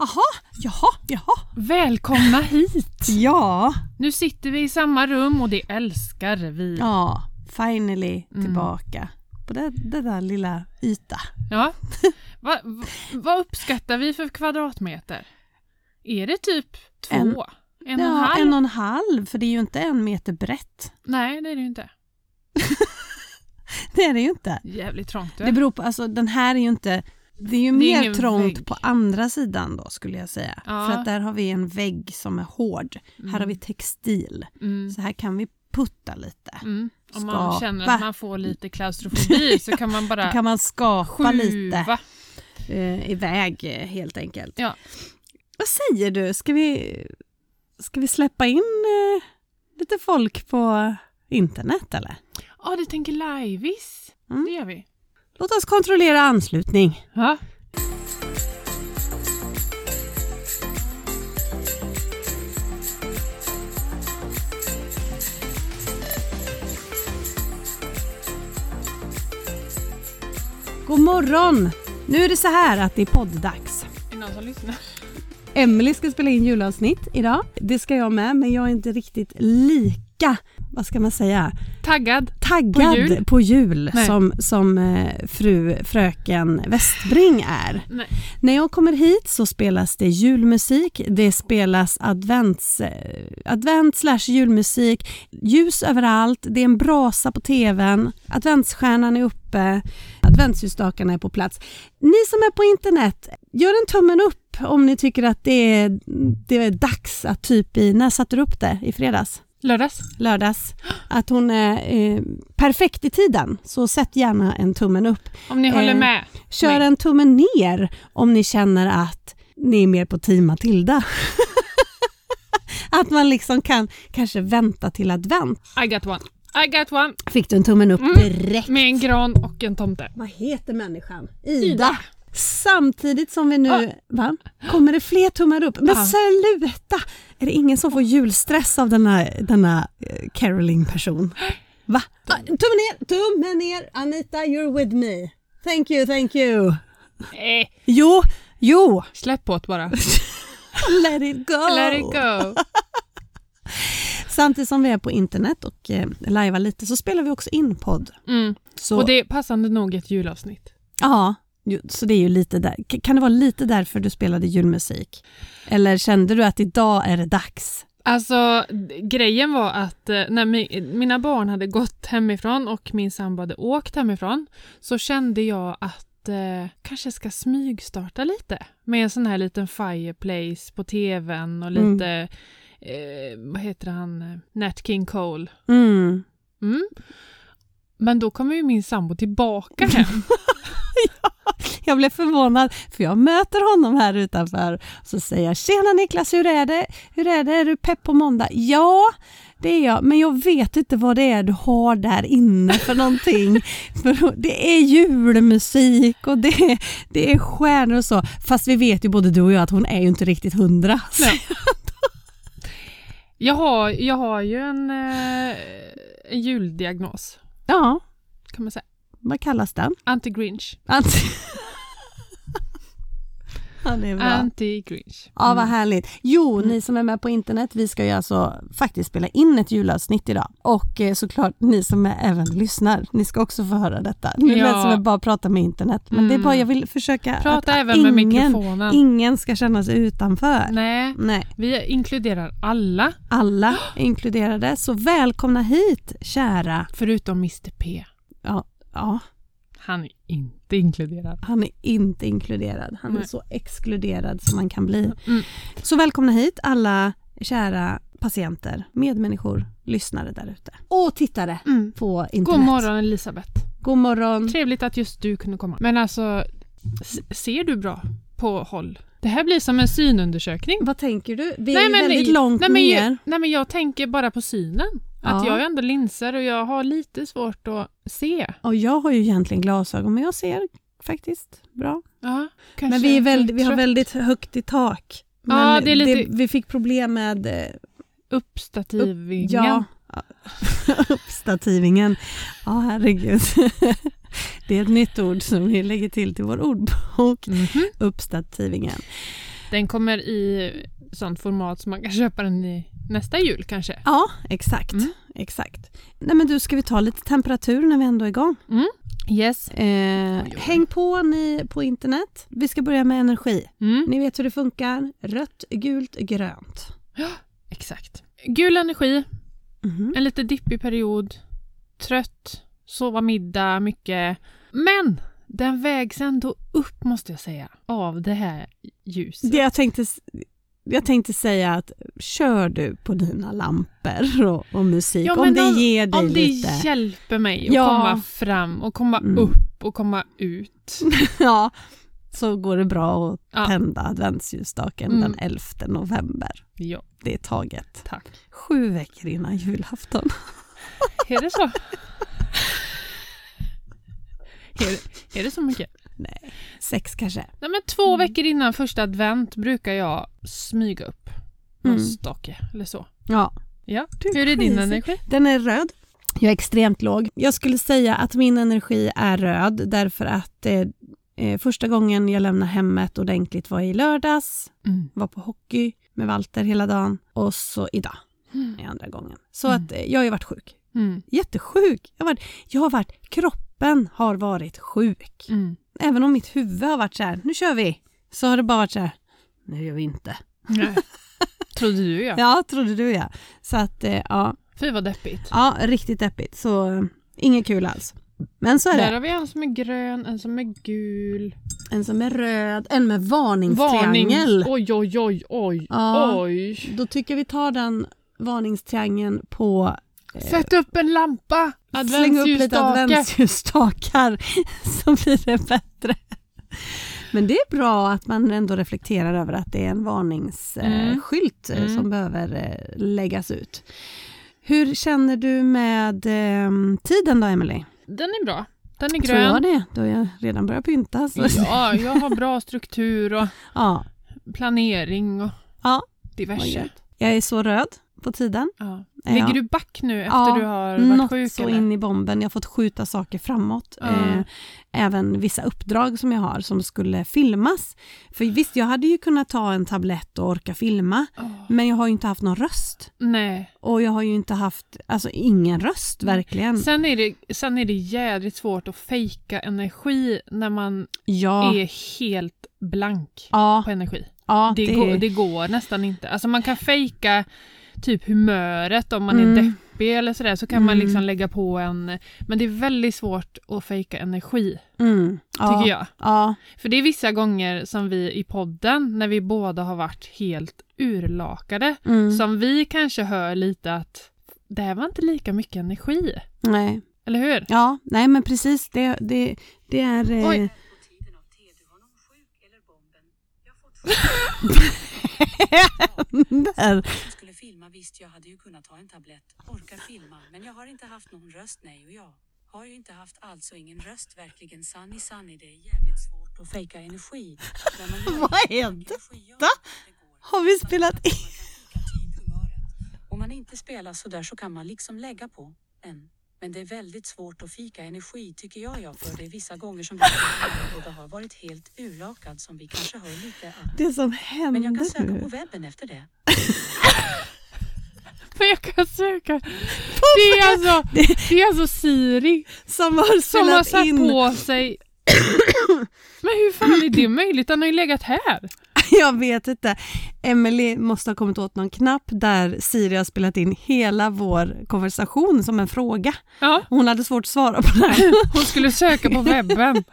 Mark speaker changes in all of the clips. Speaker 1: Aha, jaha, jaha.
Speaker 2: Välkomna hit!
Speaker 1: Ja,
Speaker 2: Nu sitter vi i samma rum och det älskar vi. Ja,
Speaker 1: ja finally
Speaker 2: Mm.
Speaker 1: tillbaka på det, det där lilla yta.
Speaker 2: Va, va, vad uppskattar vi för kvadratmeter? Är det typ två?
Speaker 1: En-
Speaker 2: En, och en
Speaker 1: ja,
Speaker 2: halv?
Speaker 1: en och en halv, för det är ju inte en meter brett.
Speaker 2: Nej, det är det ju inte.
Speaker 1: Det är det ju inte.
Speaker 2: Jävligt trångt. du.
Speaker 1: Det beror på, alltså den här är ju inte, det är ju
Speaker 2: Det är
Speaker 1: mer
Speaker 2: ingen
Speaker 1: trångt
Speaker 2: vägg.
Speaker 1: på andra sidan då skulle jag säga.
Speaker 2: Ja.
Speaker 1: För att där har vi en vägg som är hård. Här har vi textil.
Speaker 2: Mm.
Speaker 1: Så här kan vi putta lite.
Speaker 2: Mm. Om man
Speaker 1: Skapa.
Speaker 2: känner att man får lite klaustrofobi så kan man
Speaker 1: Då
Speaker 2: bara
Speaker 1: kan man skapa
Speaker 2: skjuva.
Speaker 1: lite. eh, iväg eh, helt enkelt.
Speaker 2: Ja.
Speaker 1: Vad säger du, ska vi, ska vi släppa in eh, lite folk på internet eller?
Speaker 2: Ja, du tänker liveis.
Speaker 1: Mm.
Speaker 2: Det gör vi.
Speaker 1: Låt oss kontrollera anslutning.
Speaker 2: Ja.
Speaker 1: God morgon! Nu är det så här att det är podd-dags.
Speaker 2: Är det någon som lyssnar?
Speaker 1: Emily ska spela in julavsnitt idag. Det ska jag med, men jag är inte riktigt lika, vad ska man säga,
Speaker 2: Taggad.
Speaker 1: taggad
Speaker 2: På jul?
Speaker 1: på jul
Speaker 2: Nej.
Speaker 1: som, som eh, fru fröken Westbring är.
Speaker 2: Nej.
Speaker 1: När jag kommer hit så spelas det julmusik, det spelas advents, eh, advent slash julmusik, ljus överallt, det är en brasa på tvn, adventsstjärnan är uppe, adventsljusstakarna är på plats. Ni som är på internet, gör en tummen upp om ni tycker att det är, det är dags att typ i, när satte du upp det? I fredags?
Speaker 2: Lördags.
Speaker 1: lördags att hon är eh, perfekt i tiden. Så sätt gärna en tummen upp.
Speaker 2: Om ni
Speaker 1: Eh,
Speaker 2: håller med.
Speaker 1: Kör
Speaker 2: Nej.
Speaker 1: en tumme ner om ni känner att ni är mer på team Matilda. att man liksom kan kanske vänta till advent.
Speaker 2: I got one. I got one.
Speaker 1: Fick du en tummen upp
Speaker 2: Mm.
Speaker 1: direkt?
Speaker 2: Med en gran och en tomte.
Speaker 1: Vad heter människan? Ida. Samtidigt som vi nu...
Speaker 2: Ah.
Speaker 1: Va? Kommer det fler tummar upp? Men
Speaker 2: Ah.
Speaker 1: sluta! Är det ingen som får julstress av denna, denna eh, caroling-person? Va? Ah, tummen ner! Tummen ner! Anita, you're with me. Thank you, thank you.
Speaker 2: Eh,
Speaker 1: Jo, jo.
Speaker 2: släpp åt bara.
Speaker 1: Let it go.
Speaker 2: Let it go.
Speaker 1: Samtidigt som vi är på internet och eh, lajvar lite så spelar vi också in podd.
Speaker 2: Mm.
Speaker 1: Så,
Speaker 2: Och det är passande nog ett julavsnitt.
Speaker 1: ja, ju- så det är ju lite där. K- Kan det vara lite därför du spelade julmusik? Eller kände du att idag är det dags?
Speaker 2: Alltså d- grejen var att eh, när mi, mina barn hade gått hemifrån och min sambo hade åkt hemifrån så kände jag att eh, kanske ska smygstarta lite med en sån här liten fireplace på tvn och
Speaker 1: Mm.
Speaker 2: lite, eh, vad heter han, Nat King Cole.
Speaker 1: Mm.
Speaker 2: Mm. Men då kommer ju min sambo tillbaka hem.
Speaker 1: Jag blev förvånad, för jag möter honom här utanför. Så säger jag, tjena Niklas, hur är det? Hur är det? Är du pepp på måndag? Ja, det är jag, men jag vet inte vad det är du har där inne för någonting. för det är julmusik och det är, det är stjärnor och så. Fast vi vet ju både du och jag att hon är ju inte riktigt hundra.
Speaker 2: Nej. Jag har, jag har ju en, eh, en juldiagnos,
Speaker 1: Ja,
Speaker 2: kan man säga.
Speaker 1: vad kallas den?
Speaker 2: Anti-Grinch.
Speaker 1: Ant- ja, det är bra.
Speaker 2: Anti-Grinch.
Speaker 1: Ja, vad härligt. Jo,
Speaker 2: Mm.
Speaker 1: ni som är med på internet, vi ska ju alltså faktiskt spela in ett julavsnitt idag. Och eh, såklart ni som är även lyssnar, ni ska också få höra detta. Nu
Speaker 2: Ja.
Speaker 1: lät det som att bara prata med internet, men det är
Speaker 2: Mm.
Speaker 1: bara jag vill försöka att,
Speaker 2: Prata
Speaker 1: att
Speaker 2: även med mikrofonen.
Speaker 1: ingen ska känna sig utanför. Nej.
Speaker 2: Nej, vi inkluderar alla
Speaker 1: alla är inkluderade. Så välkomna hit, kära.
Speaker 2: förutom Mr P.
Speaker 1: Ja, ja
Speaker 2: Han är inte inkluderad.
Speaker 1: han är inte inkluderad. Han är
Speaker 2: Nej.
Speaker 1: så exkluderad som man kan bli.
Speaker 2: Mm.
Speaker 1: Så välkomna hit alla kära patienter, medmänniskor, lyssnare där ute. Och tittare
Speaker 2: Mm.
Speaker 1: på internet. Mm.
Speaker 2: God morgon Elisabeth.
Speaker 1: God morgon.
Speaker 2: Trevligt att just du kunde komma. Men alltså, s- ser du bra på håll? Det här blir som en synundersökning.
Speaker 1: Vad tänker du? Vi är ju väldigt långt
Speaker 2: nej, men,
Speaker 1: ner.
Speaker 2: Jag, nej men jag tänker bara på synen. Att
Speaker 1: Ja.
Speaker 2: jag har ändå linser och jag har lite svårt att se.
Speaker 1: Och jag har ju egentligen glasögon men jag ser faktiskt bra.
Speaker 2: Ja, kanske
Speaker 1: Men vi, är väldigt, vi har
Speaker 2: trött-
Speaker 1: väldigt högt i tak. Men
Speaker 2: Ja, det är lite-
Speaker 1: vi fick problem med eh,
Speaker 2: Uppstativingen.
Speaker 1: Ja. Uppstativingen. Ja, herregud. Det är ett nytt ord som vi lägger till till vår ordbok.
Speaker 2: Mhm.
Speaker 1: Uppstativingen.
Speaker 2: Den kommer i sånt format som man kan köpa den i nästa jul kanske.
Speaker 1: Ja, exakt.
Speaker 2: Mm.
Speaker 1: exakt. Nej, men du, ska vi ta lite temperatur när vi ändå är igång?
Speaker 2: Yes.
Speaker 1: Eh,
Speaker 2: oj.
Speaker 1: häng på ni på internet. Vi ska börja med energi.
Speaker 2: Mm.
Speaker 1: Ni vet hur det funkar. Rött, gult, grönt.
Speaker 2: Exakt. Gul energi,
Speaker 1: Mhm.
Speaker 2: en lite dippig period, trött, sova middag mycket. Men den vägs ändå upp måste jag säga av det här ljuset.
Speaker 1: Det jag, tänkte, jag tänkte säga att kör du på dina lampor och, och musik
Speaker 2: Ja,
Speaker 1: om
Speaker 2: men
Speaker 1: det
Speaker 2: om-
Speaker 1: ger dig
Speaker 2: Om det
Speaker 1: lite.
Speaker 2: hjälper mig att
Speaker 1: Ja.
Speaker 2: komma fram och komma
Speaker 1: Mm.
Speaker 2: upp och komma ut.
Speaker 1: ja, så går det bra att
Speaker 2: Ja.
Speaker 1: tända adventsljusstaken
Speaker 2: Mm.
Speaker 1: den 11 november.
Speaker 2: Ja,
Speaker 1: Det är taget.
Speaker 2: tack.
Speaker 1: Sju veckor innan julafton.
Speaker 2: Är det så? är, det, är det så mycket?
Speaker 1: Sex kanske.
Speaker 2: Nej, men två
Speaker 1: Mm.
Speaker 2: veckor innan första advent brukar jag smyga upp någon
Speaker 1: Mm.
Speaker 2: stake eller så.
Speaker 1: Ja.
Speaker 2: Ja.
Speaker 1: Du,
Speaker 2: Hur är din
Speaker 1: crazy.
Speaker 2: energi?
Speaker 1: Den är röd. Jag är extremt låg. Jag skulle säga att min energi är röd därför att eh, eh, första gången jag lämnade hemmet ordentligt var i lördags.
Speaker 2: Mm.
Speaker 1: Var på hockey med Walter hela dagen och så idag är andra gången. Så
Speaker 2: Mm.
Speaker 1: att eh, jag har ju varit sjuk.
Speaker 2: Mm.
Speaker 1: Jättesjuk. Jag har varit, jag har varit kroppen har varit sjuk.
Speaker 2: Mm.
Speaker 1: Även om mitt huvud har varit så här, nu kör vi, så har det bara varit så här, nu gör vi inte.
Speaker 2: Nej. Trodde du ja.
Speaker 1: Ja, trodde du ja. Så att eh, ja,
Speaker 2: Fy vad deppigt.
Speaker 1: Ja, riktigt deppigt. Så eh, inget kul alls. Men så är
Speaker 2: Där
Speaker 1: det.
Speaker 2: har vi en som är grön, en som är gul.
Speaker 1: En som är röd, en med varningstriangel.
Speaker 2: Oj, oj, oj, oj,
Speaker 1: Ja.
Speaker 2: oj.
Speaker 1: Då tycker vi tar den varningstriangeln på eh,
Speaker 2: Sätt upp en lampa!
Speaker 1: släng upp lite
Speaker 2: Adventsljusstake!
Speaker 1: adventsljusstakar så blir det bättre. Men det är bra att man ändå reflekterar över att det är en
Speaker 2: Mm.
Speaker 1: varningsskylt
Speaker 2: Mm.
Speaker 1: som behöver eh, läggas ut. Hur känner du med eh, tiden då, Emily?
Speaker 2: Den är bra. Den är
Speaker 1: Tror jag
Speaker 2: grön.
Speaker 1: det. Då har jag redan börjat pynta. Så.
Speaker 2: Ja, jag har bra struktur och
Speaker 1: Ja,
Speaker 2: planering och
Speaker 1: Ja. Vad
Speaker 2: diverse.
Speaker 1: gött. Jag är så röd på tiden.
Speaker 2: Ja.
Speaker 1: Ja.
Speaker 2: Ligger du back nu efter
Speaker 1: Ja,
Speaker 2: du har varit
Speaker 1: Något
Speaker 2: sjuk?
Speaker 1: så
Speaker 2: eller?
Speaker 1: in i bomben. Jag har fått skjuta saker framåt.
Speaker 2: Ja.
Speaker 1: Eh, även vissa uppdrag som jag har som skulle filmas. För visst, jag hade ju kunnat ta en tablett och orka filma.
Speaker 2: Åh,
Speaker 1: Men jag har ju inte haft någon röst.
Speaker 2: nej.
Speaker 1: Och jag har ju inte haft, alltså ingen röst verkligen.
Speaker 2: Sen är, det, sen är det jädrigt svårt att fejka energi när man
Speaker 1: Ja,
Speaker 2: är helt blank
Speaker 1: ja,
Speaker 2: på energi.
Speaker 1: ja.
Speaker 2: Det, går, det går nästan inte. Alltså man kan fejka typ humöret om man
Speaker 1: Mm.
Speaker 2: är deppig eller sådär så kan man
Speaker 1: Mm.
Speaker 2: liksom lägga på en... Men det är väldigt svårt att fejka energi,
Speaker 1: mm, ja,
Speaker 2: tycker jag.
Speaker 1: Ja,
Speaker 2: För det är vissa gånger som vi i podden, när vi båda har varit helt urlakade,
Speaker 1: mm,
Speaker 2: som vi kanske hör lite att det här var inte lika mycket energi.
Speaker 1: nej.
Speaker 2: Eller hur?
Speaker 1: Ja, nej men precis. Det, det, det är... eh,
Speaker 2: Oj.
Speaker 1: eh, där.
Speaker 3: Jag skulle filma visst, jag hade ju kunnat ta en tablett. Orkar filma, men jag har inte haft någon röst, nej och jag. Har ju inte haft alltså ingen röst, verkligen sanni sanni. Det är jävligt svårt att fejka energi. Men man gör
Speaker 1: Vad
Speaker 3: ju
Speaker 1: hände?
Speaker 3: energi, ja, det går.
Speaker 1: Har vi spelat in?
Speaker 3: Man kan fika typ humöret. Om man inte spelar sådär så kan man liksom lägga på en. Men det är väldigt svårt att fika energi tycker jag, jag för det är vissa gånger som vi båda har varit helt urlakad som vi kanske hör lite att.
Speaker 1: Det som
Speaker 3: Men jag
Speaker 1: hände
Speaker 3: kan söka på
Speaker 1: nu.
Speaker 3: webben efter det.
Speaker 2: Men jag kan söka. Det är alltså, det är alltså Siri
Speaker 1: Som har
Speaker 2: som har
Speaker 1: spelat
Speaker 2: satt
Speaker 1: in.
Speaker 2: på sig... Men hur fan är det möjligt? Han har ju legat här.
Speaker 1: Jag vet inte. Emily måste ha kommit åt någon knapp där Siri har spelat in hela vår konversation som en fråga.
Speaker 2: Ja,
Speaker 1: Hon hade svårt att svara på den.
Speaker 2: hon skulle söka på webben.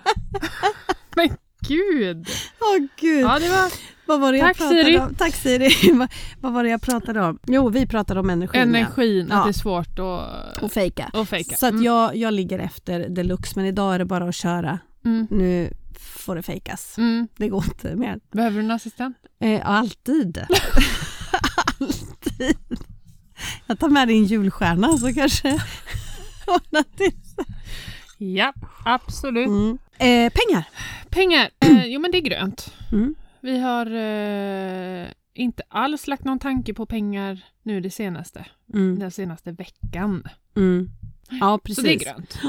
Speaker 2: Men gud!
Speaker 1: Åh gud.
Speaker 2: Ja, det var
Speaker 1: Vad var det jag
Speaker 2: Tack,
Speaker 1: pratade
Speaker 2: Siri.
Speaker 1: om? Tack Siri. Vad- Vad var det jag pratade om? Jo, vi pratade om energin. ja.
Speaker 2: energin, att
Speaker 1: Ja.
Speaker 2: det är svårt att,
Speaker 1: Och fejka.
Speaker 2: att fejka.
Speaker 1: Så att
Speaker 2: Mm.
Speaker 1: jag, jag ligger efter deluxe men idag är det bara att köra.
Speaker 2: Mm.
Speaker 1: Nu får det fejkas.
Speaker 2: Mm.
Speaker 1: Det går inte mer.
Speaker 2: Behöver du en assistent?
Speaker 1: Eh, alltid. alltid. Jag tar med din julstjärna så kanske ordnar till.
Speaker 2: Ja, absolut.
Speaker 1: Mm. Eh, pengar.
Speaker 2: Pengar. Eh, jo, men det är grönt.
Speaker 1: Mm.
Speaker 2: Vi har eh, inte alls lagt någon tanke på pengar nu det senaste.
Speaker 1: Mm.
Speaker 2: Den senaste veckan.
Speaker 1: Mm. Ja, precis.
Speaker 2: Så det är grönt.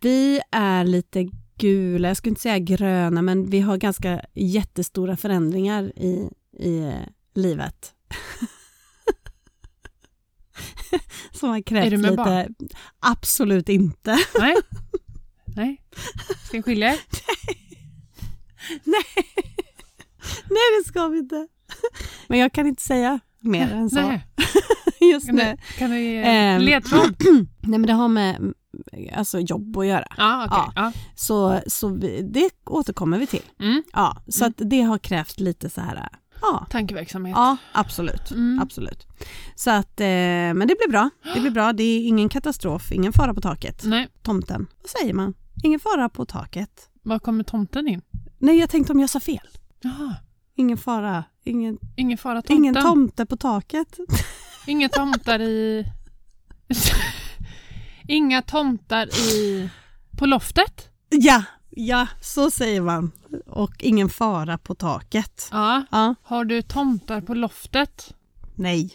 Speaker 1: Vi är lite gula, jag skulle inte säga gröna, men vi har ganska jättestora förändringar i, i eh, livet. Som har krävt
Speaker 2: Är du med
Speaker 1: lite...
Speaker 2: barn?
Speaker 1: Absolut inte.
Speaker 2: Nej. Nej. Ska ni skilja er?
Speaker 1: Nej, det ska vi inte. Men jag kan inte säga mer än så
Speaker 2: Nej.
Speaker 1: just
Speaker 2: Kan
Speaker 1: nu.
Speaker 2: du, kan du ge
Speaker 1: Ehm.
Speaker 2: ledtråd?
Speaker 1: Nej, men det har med mm, alltså, jobb att göra.
Speaker 2: Ja, okej. Ja.
Speaker 1: Så, så vi, det återkommer vi till.
Speaker 2: Mm.
Speaker 1: Ja, så att det har krävt lite så här... Ja,
Speaker 2: Tankeverksamhet.
Speaker 1: ja absolut.
Speaker 2: Mm.
Speaker 1: absolut. Så att, eh, men det blir bra. Det blir bra. Det är ingen katastrof, ingen fara på taket.
Speaker 2: Nej.
Speaker 1: Tomten, vad säger man? Ingen fara på taket.
Speaker 2: Var kommer tomten in?
Speaker 1: Nej, jag tänkte om jag sa fel.
Speaker 2: Jaha.
Speaker 1: Ingen fara, ingen,
Speaker 2: Ingen fara tomten.
Speaker 1: ingen tomte på taket.
Speaker 2: Inga tomtar i... Inga tomtar i... På loftet?
Speaker 1: Ja, ja, så säger man. Och ingen fara på taket.
Speaker 2: Ja.
Speaker 1: Ja,
Speaker 2: Har du tomtar på loftet?
Speaker 1: nej.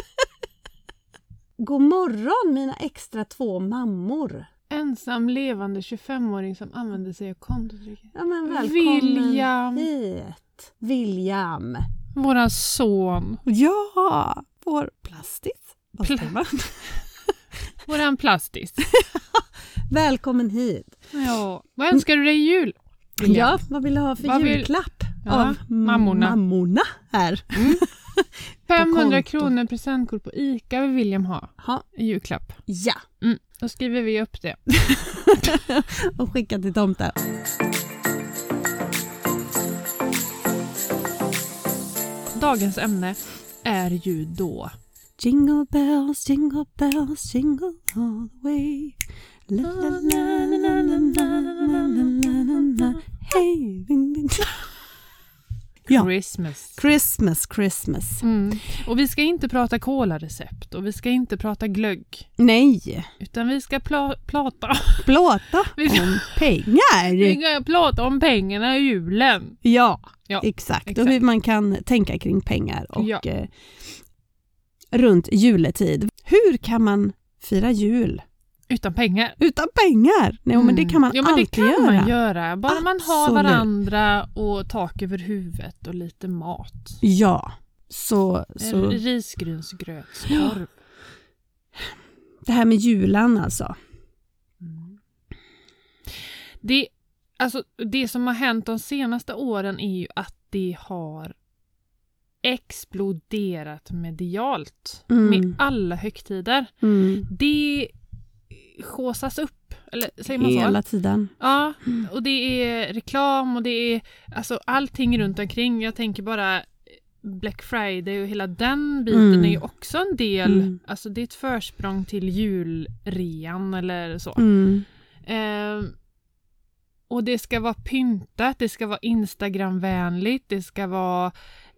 Speaker 1: God morgon mina extra två mammor.
Speaker 2: Ensam levande 25-åring som använder sig av kondotricket.
Speaker 1: Ja, men välkommen
Speaker 2: William.
Speaker 1: hit. William.
Speaker 2: Våran son.
Speaker 1: Ja, vår plastis. Vad
Speaker 2: Pla-
Speaker 1: säger man?
Speaker 2: Våran plastis.
Speaker 1: Välkommen hit.
Speaker 2: Ja. Vad önskar du dig i jul? William?
Speaker 1: Ja, vad vill du ha för
Speaker 2: Vad vill-
Speaker 1: julklapp
Speaker 2: Ja,
Speaker 1: av
Speaker 2: mammorna.
Speaker 1: mammorna här?
Speaker 2: 500
Speaker 1: konto.
Speaker 2: kronor presentkort på ICA vill William ha
Speaker 1: Ja.
Speaker 2: i julklapp.
Speaker 1: ja,
Speaker 2: Mm. Då skriver vi upp det.
Speaker 1: och skicka till tomten.
Speaker 2: Dagens ämne är ju då
Speaker 1: Jingle bells, jingle bells, jingle all the way. La, la, la, la, la, la, la, la, la, la, la, la. Hey, bing, bing. Ja.
Speaker 2: Christmas.
Speaker 1: Christmas, Christmas.
Speaker 2: Mm. Och vi ska inte prata kolarecept och vi ska inte prata glögg.
Speaker 1: Nej,
Speaker 2: Utan vi ska pla- plata.
Speaker 1: plåta
Speaker 2: Vi ska,
Speaker 1: om pengar.
Speaker 2: vi ska plata om pengarna i julen.
Speaker 1: Ja,
Speaker 2: Ja,
Speaker 1: exakt.
Speaker 2: exakt.
Speaker 1: Och hur man kan tänka kring pengar och
Speaker 2: Ja.
Speaker 1: eh, runt juletid. Hur kan man fira jul
Speaker 2: Utan pengar.
Speaker 1: utan pengar? Nej, men det kan man
Speaker 2: Mm. ja, men
Speaker 1: alltid
Speaker 2: det kan
Speaker 1: göra.
Speaker 2: man göra. Bara man har
Speaker 1: Absolut.
Speaker 2: varandra och tak över huvudet och lite mat.
Speaker 1: Ja, så, så
Speaker 2: En risgrynsgrötskorv.
Speaker 1: det här med julan alltså.
Speaker 2: Mm. Det, alltså, det som har hänt de senaste åren är ju att det har exploderat medialt
Speaker 1: Mm.
Speaker 2: med alla högtider.
Speaker 1: Mm.
Speaker 2: Det sjåsas upp, eller säger man så?
Speaker 1: Hela tiden.
Speaker 2: Ja, och det är reklam och det är alltså allting runt omkring. Jag tänker bara Black Friday och hela den biten
Speaker 1: Mm.
Speaker 2: är ju också en del,
Speaker 1: Mm.
Speaker 2: alltså det är ett försprång till julrean eller så.
Speaker 1: Mm.
Speaker 2: Ehm, och det ska vara pyntat, det ska vara Instagramvänligt, det ska vara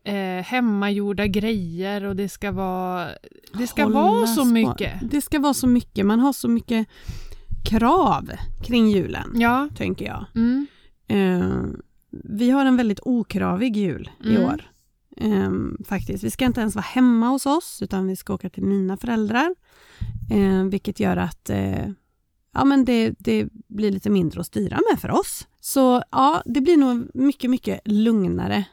Speaker 2: eh, hemmagjorda grejer och det ska vara, det ska vara
Speaker 1: Hållas
Speaker 2: så
Speaker 1: på-
Speaker 2: mycket.
Speaker 1: Det ska vara så mycket. Man har så mycket krav kring julen,
Speaker 2: Ja.
Speaker 1: tänker jag.
Speaker 2: Mm.
Speaker 1: Eh, vi har en väldigt okravig jul i
Speaker 2: Mm.
Speaker 1: år. Eh, faktiskt. Vi ska inte ens vara hemma hos oss utan vi ska åka till mina föräldrar. Eh, vilket gör att eh, ja, men det, det blir lite mindre att styra med för oss. Så ja, det blir nog mycket, mycket lugnare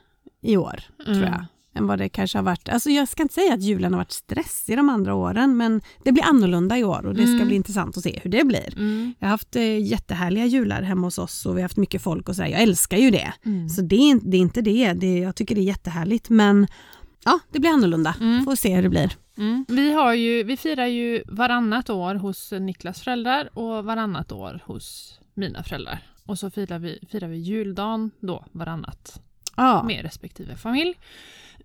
Speaker 1: i år
Speaker 2: Mm.
Speaker 1: tror jag. Än vad det kanske har varit. Alltså jag ska inte säga att julen har varit stress i de andra åren men det blir annorlunda i år och det ska
Speaker 2: Mm.
Speaker 1: bli intressant att se hur det blir.
Speaker 2: Mm.
Speaker 1: Jag har haft eh, jättehärliga jular hemma hos oss och vi har haft mycket folk och sådär. Jag älskar ju det.
Speaker 2: Mm.
Speaker 1: Så det är, in- det är inte det. det. Jag tycker det är jättehärligt men ja, det blir annorlunda.
Speaker 2: Mm.
Speaker 1: Får se hur det blir.
Speaker 2: Mm. Vi, har ju, vi firar ju varannat år hos Niklas föräldrar och varannat år hos mina föräldrar. Och så firar vi, firar vi juldagen då varannat
Speaker 1: Ja.
Speaker 2: med respektive familj.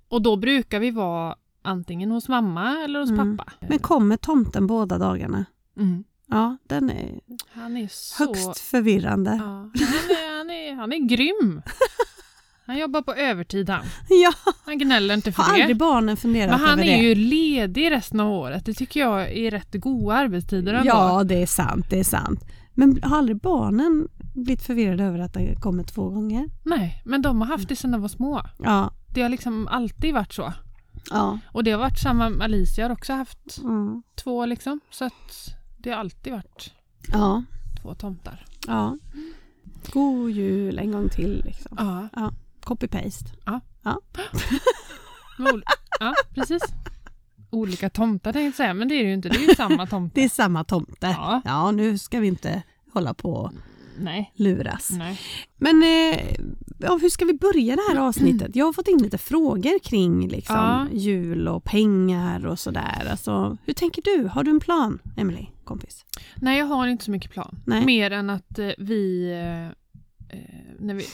Speaker 2: Och då brukar vi vara antingen hos mamma eller hos
Speaker 1: Mm.
Speaker 2: pappa.
Speaker 1: Men kommer tomten båda dagarna?
Speaker 2: Mm.
Speaker 1: Ja, den är
Speaker 2: Han är så...
Speaker 1: högst förvirrande.
Speaker 2: Ja,
Speaker 1: Ja.
Speaker 2: han, är, han, är, han är grym. Han jobbar på övertid han. Han gnäller inte för
Speaker 1: har
Speaker 2: det.
Speaker 1: aldrig barnen
Speaker 2: Men
Speaker 1: funderat
Speaker 2: han
Speaker 1: över
Speaker 2: är
Speaker 1: det?
Speaker 2: ju ledig resten av året. Det tycker jag är rätt goda arbetstider ändå.
Speaker 1: Ja, det är sant. Det är sant. Men har aldrig barnen blivit förvirrade över att det kommer två gånger?
Speaker 2: Nej, men de har haft det sedan de var små.
Speaker 1: Ja.
Speaker 2: Det har liksom alltid varit så.
Speaker 1: ja.
Speaker 2: Och det har varit samma, Alicia har också haft
Speaker 1: Mm.
Speaker 2: två liksom. Så att det har alltid varit
Speaker 1: Ja.
Speaker 2: två tomtar.
Speaker 1: Ja. God jul en gång till liksom.
Speaker 2: Ja.
Speaker 1: Copy-paste.
Speaker 2: Ja. Med ol- ja, precis. Olika tomtar tänkte jag säga, men det är det ju inte. Det är ju samma tomte.
Speaker 1: Det är samma tomte.
Speaker 2: Ja.
Speaker 1: ja, nu ska vi inte hålla på och
Speaker 2: Nej.
Speaker 1: luras.
Speaker 2: Nej.
Speaker 1: Men eh, ja, hur ska vi börja det här avsnittet? Jag har fått in lite frågor kring liksom,
Speaker 2: Ja.
Speaker 1: jul och pengar och sådär. Alltså, hur tänker du? Har du en plan, Emily, kompis?
Speaker 2: Nej, jag har inte så mycket plan.
Speaker 1: Nej.
Speaker 2: Mer än att eh, vi, eh, eh, när vi...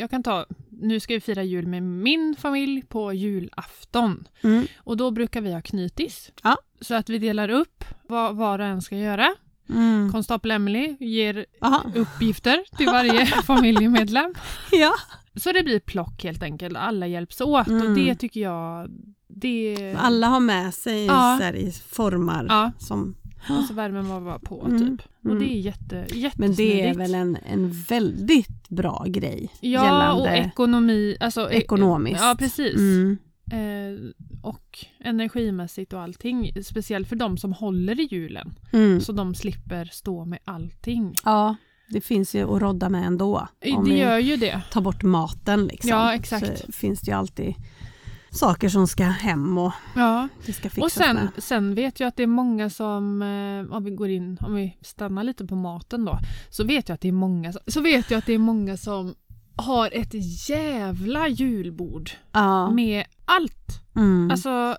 Speaker 2: Jag kan ta... Nu ska vi fira jul med min familj på julafton.
Speaker 1: Mm.
Speaker 2: Och då brukar vi ha knytis.
Speaker 1: Ja.
Speaker 2: Så att vi delar upp vad var och en ska göra.
Speaker 1: Mm.
Speaker 2: Konstapel Emily ger
Speaker 1: Aha.
Speaker 2: uppgifter till varje familjemedlem.
Speaker 1: Ja.
Speaker 2: Så det blir plock helt enkelt. Alla hjälps åt
Speaker 1: Mm.
Speaker 2: och det tycker jag... Det...
Speaker 1: Alla har med sig
Speaker 2: Ja.
Speaker 1: så här, i formar.
Speaker 2: Ja,
Speaker 1: Som,
Speaker 2: och så värmen var bara på
Speaker 1: Mm.
Speaker 2: typ. Och
Speaker 1: Mm.
Speaker 2: det är jätte, jättesmidigt.
Speaker 1: men det är väl en, en väldigt bra grej
Speaker 2: Ja, och
Speaker 1: gällande
Speaker 2: ekonomi. Alltså, e-
Speaker 1: ekonomiskt.
Speaker 2: Ja, precis.
Speaker 1: Mm.
Speaker 2: Eh, och energimässigt och allting. Speciellt för de som håller i julen.
Speaker 1: Mm.
Speaker 2: Så de slipper stå med allting.
Speaker 1: Ja, det finns ju att rodda med ändå. Om
Speaker 2: det
Speaker 1: vi
Speaker 2: gör ju det.
Speaker 1: tar bort maten liksom.
Speaker 2: Ja, exakt.
Speaker 1: Så finns det ju alltid saker som ska hem och
Speaker 2: Ja.
Speaker 1: det ska fixas
Speaker 2: Och sen,
Speaker 1: med.
Speaker 2: sen vet jag att det är många som, eh, om vi går in, om vi stannar lite på maten då, så vet jag att det är många, som- så vet jag att det är många som har ett jävla julbord
Speaker 1: Ja.
Speaker 2: med allt.
Speaker 1: Mm.
Speaker 2: Alltså,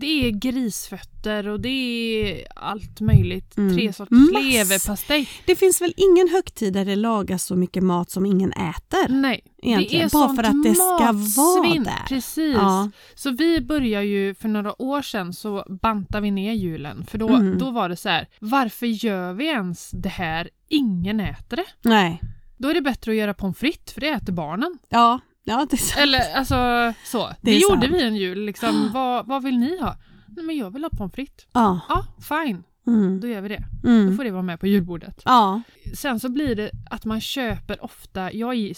Speaker 2: det är grisfötter och det är allt möjligt.
Speaker 1: Mm.
Speaker 2: Tre sorters
Speaker 1: Mass-
Speaker 2: leverpastej.
Speaker 1: det finns väl ingen högtid där det lagas så mycket mat som ingen äter?
Speaker 2: Nej,
Speaker 1: Egentligen,
Speaker 2: det är
Speaker 1: bara
Speaker 2: sånt
Speaker 1: för att det ska vara
Speaker 2: matsvinn.
Speaker 1: där.
Speaker 2: Precis.
Speaker 1: Ja.
Speaker 2: Så vi börjar ju för några år sedan så bantade vi ner julen. För då,
Speaker 1: Mm.
Speaker 2: då var det så här, varför gör vi ens det här? Ingen äter det.
Speaker 1: Nej.
Speaker 2: Då är det bättre att göra pommes frites för det äter barnen.
Speaker 1: Ja, ja det är sant.
Speaker 2: Eller alltså så. Det,
Speaker 1: Det är
Speaker 2: gjorde
Speaker 1: sant.
Speaker 2: vi en jul liksom. vad, vad vill ni ha? Nej men jag vill ha pommes frites.
Speaker 1: Ja.
Speaker 2: Ja, fine.
Speaker 1: Mm.
Speaker 2: Då gör vi det. Då
Speaker 1: Mm.
Speaker 2: får det vara med på julbordet.
Speaker 1: Ja.
Speaker 2: Sen så blir det att man köper ofta, jag är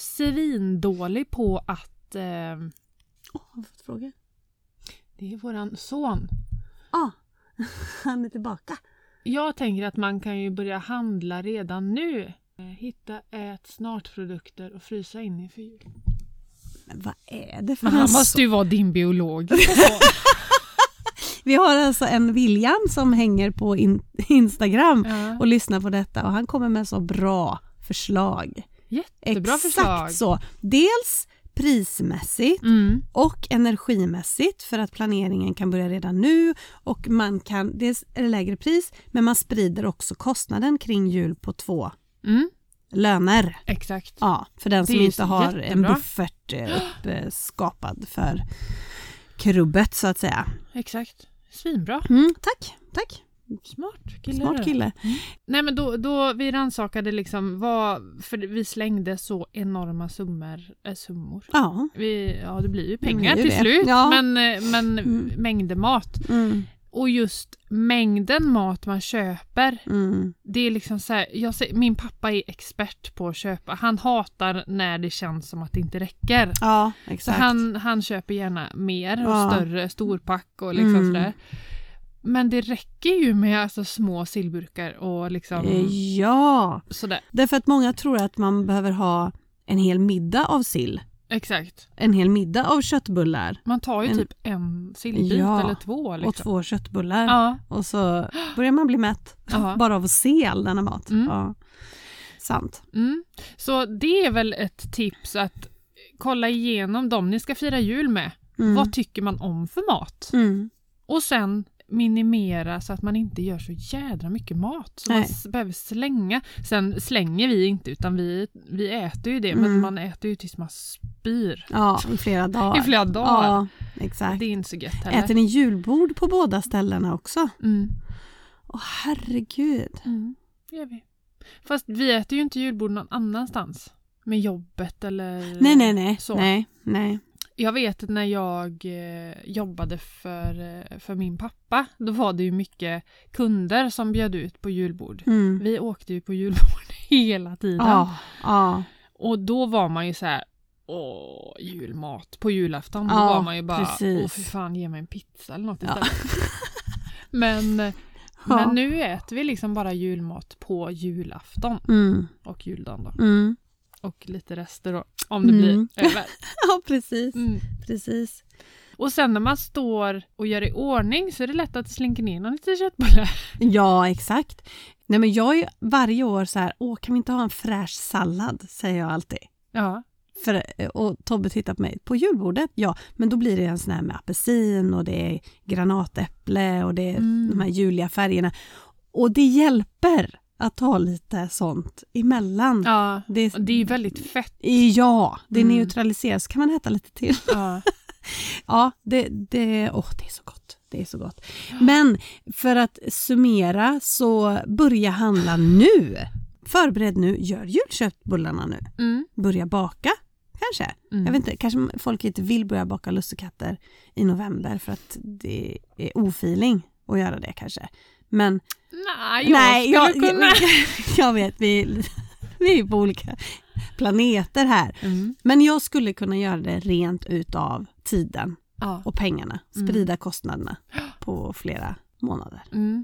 Speaker 2: svindålig på att eh,
Speaker 1: Åh, har vi fått frågor?
Speaker 2: Det är våran son.
Speaker 1: Ja, han är tillbaka.
Speaker 2: Jag tänker att man kan ju börja handla redan nu. Eh, Hitta ät snart-produkter och frysa in inför jul.
Speaker 1: Men vad är det för
Speaker 2: Men han
Speaker 1: en
Speaker 2: måste
Speaker 1: so-
Speaker 2: ju vara din biolog.
Speaker 1: Vi har alltså en William som hänger på in- Instagram
Speaker 2: ja.
Speaker 1: och lyssnar på detta och han kommer med så bra förslag.
Speaker 2: Jättebra
Speaker 1: Exakt
Speaker 2: förslag.
Speaker 1: så. Dels prismässigt
Speaker 2: Mm.
Speaker 1: och energimässigt för att planeringen kan börja redan nu och man kan, dels är det lägre pris men man sprider också kostnaden kring jul på två
Speaker 2: Mm.
Speaker 1: löner.
Speaker 2: Exakt.
Speaker 1: Ja, för den
Speaker 2: Det
Speaker 1: som
Speaker 2: är
Speaker 1: inte har en
Speaker 2: jättebra.
Speaker 1: buffert eh, uppskapad för krubbet så att säga.
Speaker 2: Exakt. Svinbra.
Speaker 1: Mm, tack, tack.
Speaker 2: Smart kille.
Speaker 1: Smart kille.
Speaker 2: Nej men då, då vi rannsakade liksom vad, för vi slängde så enorma summor, eh, summor.
Speaker 1: Ja.
Speaker 2: Vi, ja det blir ju
Speaker 1: blir
Speaker 2: pengar
Speaker 1: ju
Speaker 2: till
Speaker 1: det.
Speaker 2: slut
Speaker 1: Ja.
Speaker 2: men, eh, men
Speaker 1: Mm.
Speaker 2: mängder mat.
Speaker 1: Mm,
Speaker 2: Och just mängden mat man köper
Speaker 1: mm,
Speaker 2: Det är liksom så här, jag ser, min pappa är expert på att köpa. Han hatar när det känns som att det inte räcker.
Speaker 1: ja,
Speaker 2: Så
Speaker 1: exakt.
Speaker 2: han, han köper gärna mer och
Speaker 1: Ja.
Speaker 2: större storpack och liksom
Speaker 1: Mm.
Speaker 2: sådär. Men det räcker ju med alltså små sillburkar och liksom
Speaker 1: Eh, Ja,
Speaker 2: sådär.
Speaker 1: Därför att många tror att man behöver ha en hel middag av sill,
Speaker 2: Exakt.
Speaker 1: en hel middag av köttbullar
Speaker 2: Man tar ju
Speaker 1: En-
Speaker 2: typ en sillbit
Speaker 1: Ja,
Speaker 2: eller två. Liksom.
Speaker 1: och två köttbullar.
Speaker 2: Ja,
Speaker 1: Och så börjar man bli mätt
Speaker 2: ja.
Speaker 1: bara av att se all denna mat.
Speaker 2: Mm.
Speaker 1: Ja. Sant.
Speaker 2: Mm. Så det är väl ett tips att kolla igenom dem ni ska fira jul med.
Speaker 1: Mm.
Speaker 2: Vad tycker man om för mat?
Speaker 1: Mm.
Speaker 2: Och sen minimera så att man inte gör så jädra mycket mat som man
Speaker 1: Nej.
Speaker 2: s- behöver slänga. Sen slänger vi inte utan vi, vi äter ju det men
Speaker 1: Mm.
Speaker 2: man äter ju tills man spyr
Speaker 1: Ja, i flera dagar.
Speaker 2: i flera dagar.
Speaker 1: Ja, exakt.
Speaker 2: Det är inte så gött heller.
Speaker 1: Äter ni julbord på båda ställena också?
Speaker 2: Mm.
Speaker 1: Åh herregud.
Speaker 2: Mm. Det gör vi. Fast vi äter ju inte julbord någon annanstans. Med jobbet eller
Speaker 1: Nej, nej, nej.
Speaker 2: så.
Speaker 1: Nej, nej.
Speaker 2: Jag vet att när jag eh, jobbade för, eh, för min pappa då var det ju mycket kunder som bjöd ut på julbord.
Speaker 1: Mm.
Speaker 2: Vi åkte ju på julbord hela tiden.
Speaker 1: Ja, ja,
Speaker 2: Och då var man ju så här, åh, julmat på julafton. då
Speaker 1: Ja,
Speaker 2: var man ju bara,
Speaker 1: precis.
Speaker 2: åh för fan, ge mig en pizza eller något
Speaker 1: Ja.
Speaker 2: istället. men,
Speaker 1: Ja.
Speaker 2: men nu äter vi liksom bara julmat på julafton
Speaker 1: Mm.
Speaker 2: och juldagen då.
Speaker 1: Mm.
Speaker 2: Och lite rester då, om det
Speaker 1: Mm.
Speaker 2: blir över.
Speaker 1: Ja, precis.
Speaker 2: Mm.
Speaker 1: precis.
Speaker 2: Och sen när man står och gör i ordning så är det lätt att det slinker ner någon liten köttbulle.
Speaker 1: Ja, exakt. Nej, men jag är ju varje år så här, åh, kan vi inte ha en fräsch sallad, säger jag alltid.
Speaker 2: Ja.
Speaker 1: För, eh, och Tobbe tittar på mig, på julbordet, ja, men då blir det en sån här med apelsin och det är granatäpple och det är
Speaker 2: Mm.
Speaker 1: de här juliga färgerna. Och det hjälper att ha lite sånt emellan.
Speaker 2: ja.
Speaker 1: Det,
Speaker 2: Och det är ju väldigt fett.
Speaker 1: ja, det
Speaker 2: Mm.
Speaker 1: neutraliseras, så kan man äta lite till.
Speaker 2: Ja.
Speaker 1: Ja, det, det, åh, det är så gott. Det är så gott. Men för att summera så börja handla nu. Förbered nu, gör julköttbullarna nu.
Speaker 2: Mm.
Speaker 1: Börja baka kanske.
Speaker 2: Mm.
Speaker 1: Jag vet inte, kanske folk inte vill börja baka lussekatter i november för att det är ofiling att göra det kanske. Men
Speaker 2: Nej, jag Nej, skulle
Speaker 1: jag,
Speaker 2: kunna.
Speaker 1: jag vet, vi, vi är på olika planeter här.
Speaker 2: Mm.
Speaker 1: Men jag skulle kunna göra det rent utav tiden
Speaker 2: Ja.
Speaker 1: och pengarna.
Speaker 2: Mm.
Speaker 1: Sprida kostnaderna på flera månader.
Speaker 2: Mm.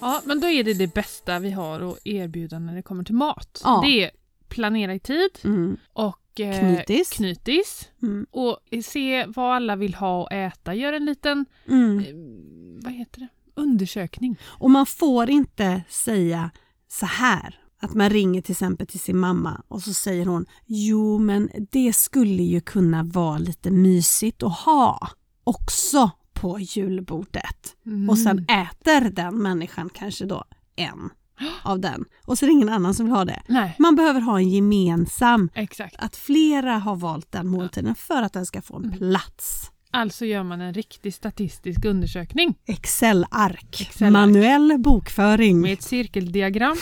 Speaker 2: Ja, men då är det det bästa vi har att erbjuda när det kommer till mat.
Speaker 1: Ja.
Speaker 2: Det är planera i tid
Speaker 1: Mm.
Speaker 2: och eh,
Speaker 1: Knytis.
Speaker 2: knytis.
Speaker 1: Mm.
Speaker 2: Och se vad alla vill ha och äta. Gör en liten,
Speaker 1: Mm.
Speaker 2: eh, vad heter det, undersökning.
Speaker 1: Och man får inte säga så här. Att man ringer till exempel till sin mamma och så säger hon Jo men det skulle ju kunna vara lite mysigt att ha också på julbordet. Och sen äter den människan kanske då en av den. Och så är det ingen annan som vill ha det.
Speaker 2: Nej,
Speaker 1: Man behöver ha en gemensam,
Speaker 2: exakt.
Speaker 1: att flera har valt den måltiden för att den ska få en plats.
Speaker 2: Alltså gör man en riktig statistisk undersökning
Speaker 1: Excel-ark.
Speaker 2: Excel-ark.
Speaker 1: Manuell bokföring.
Speaker 2: med ett cirkeldiagram.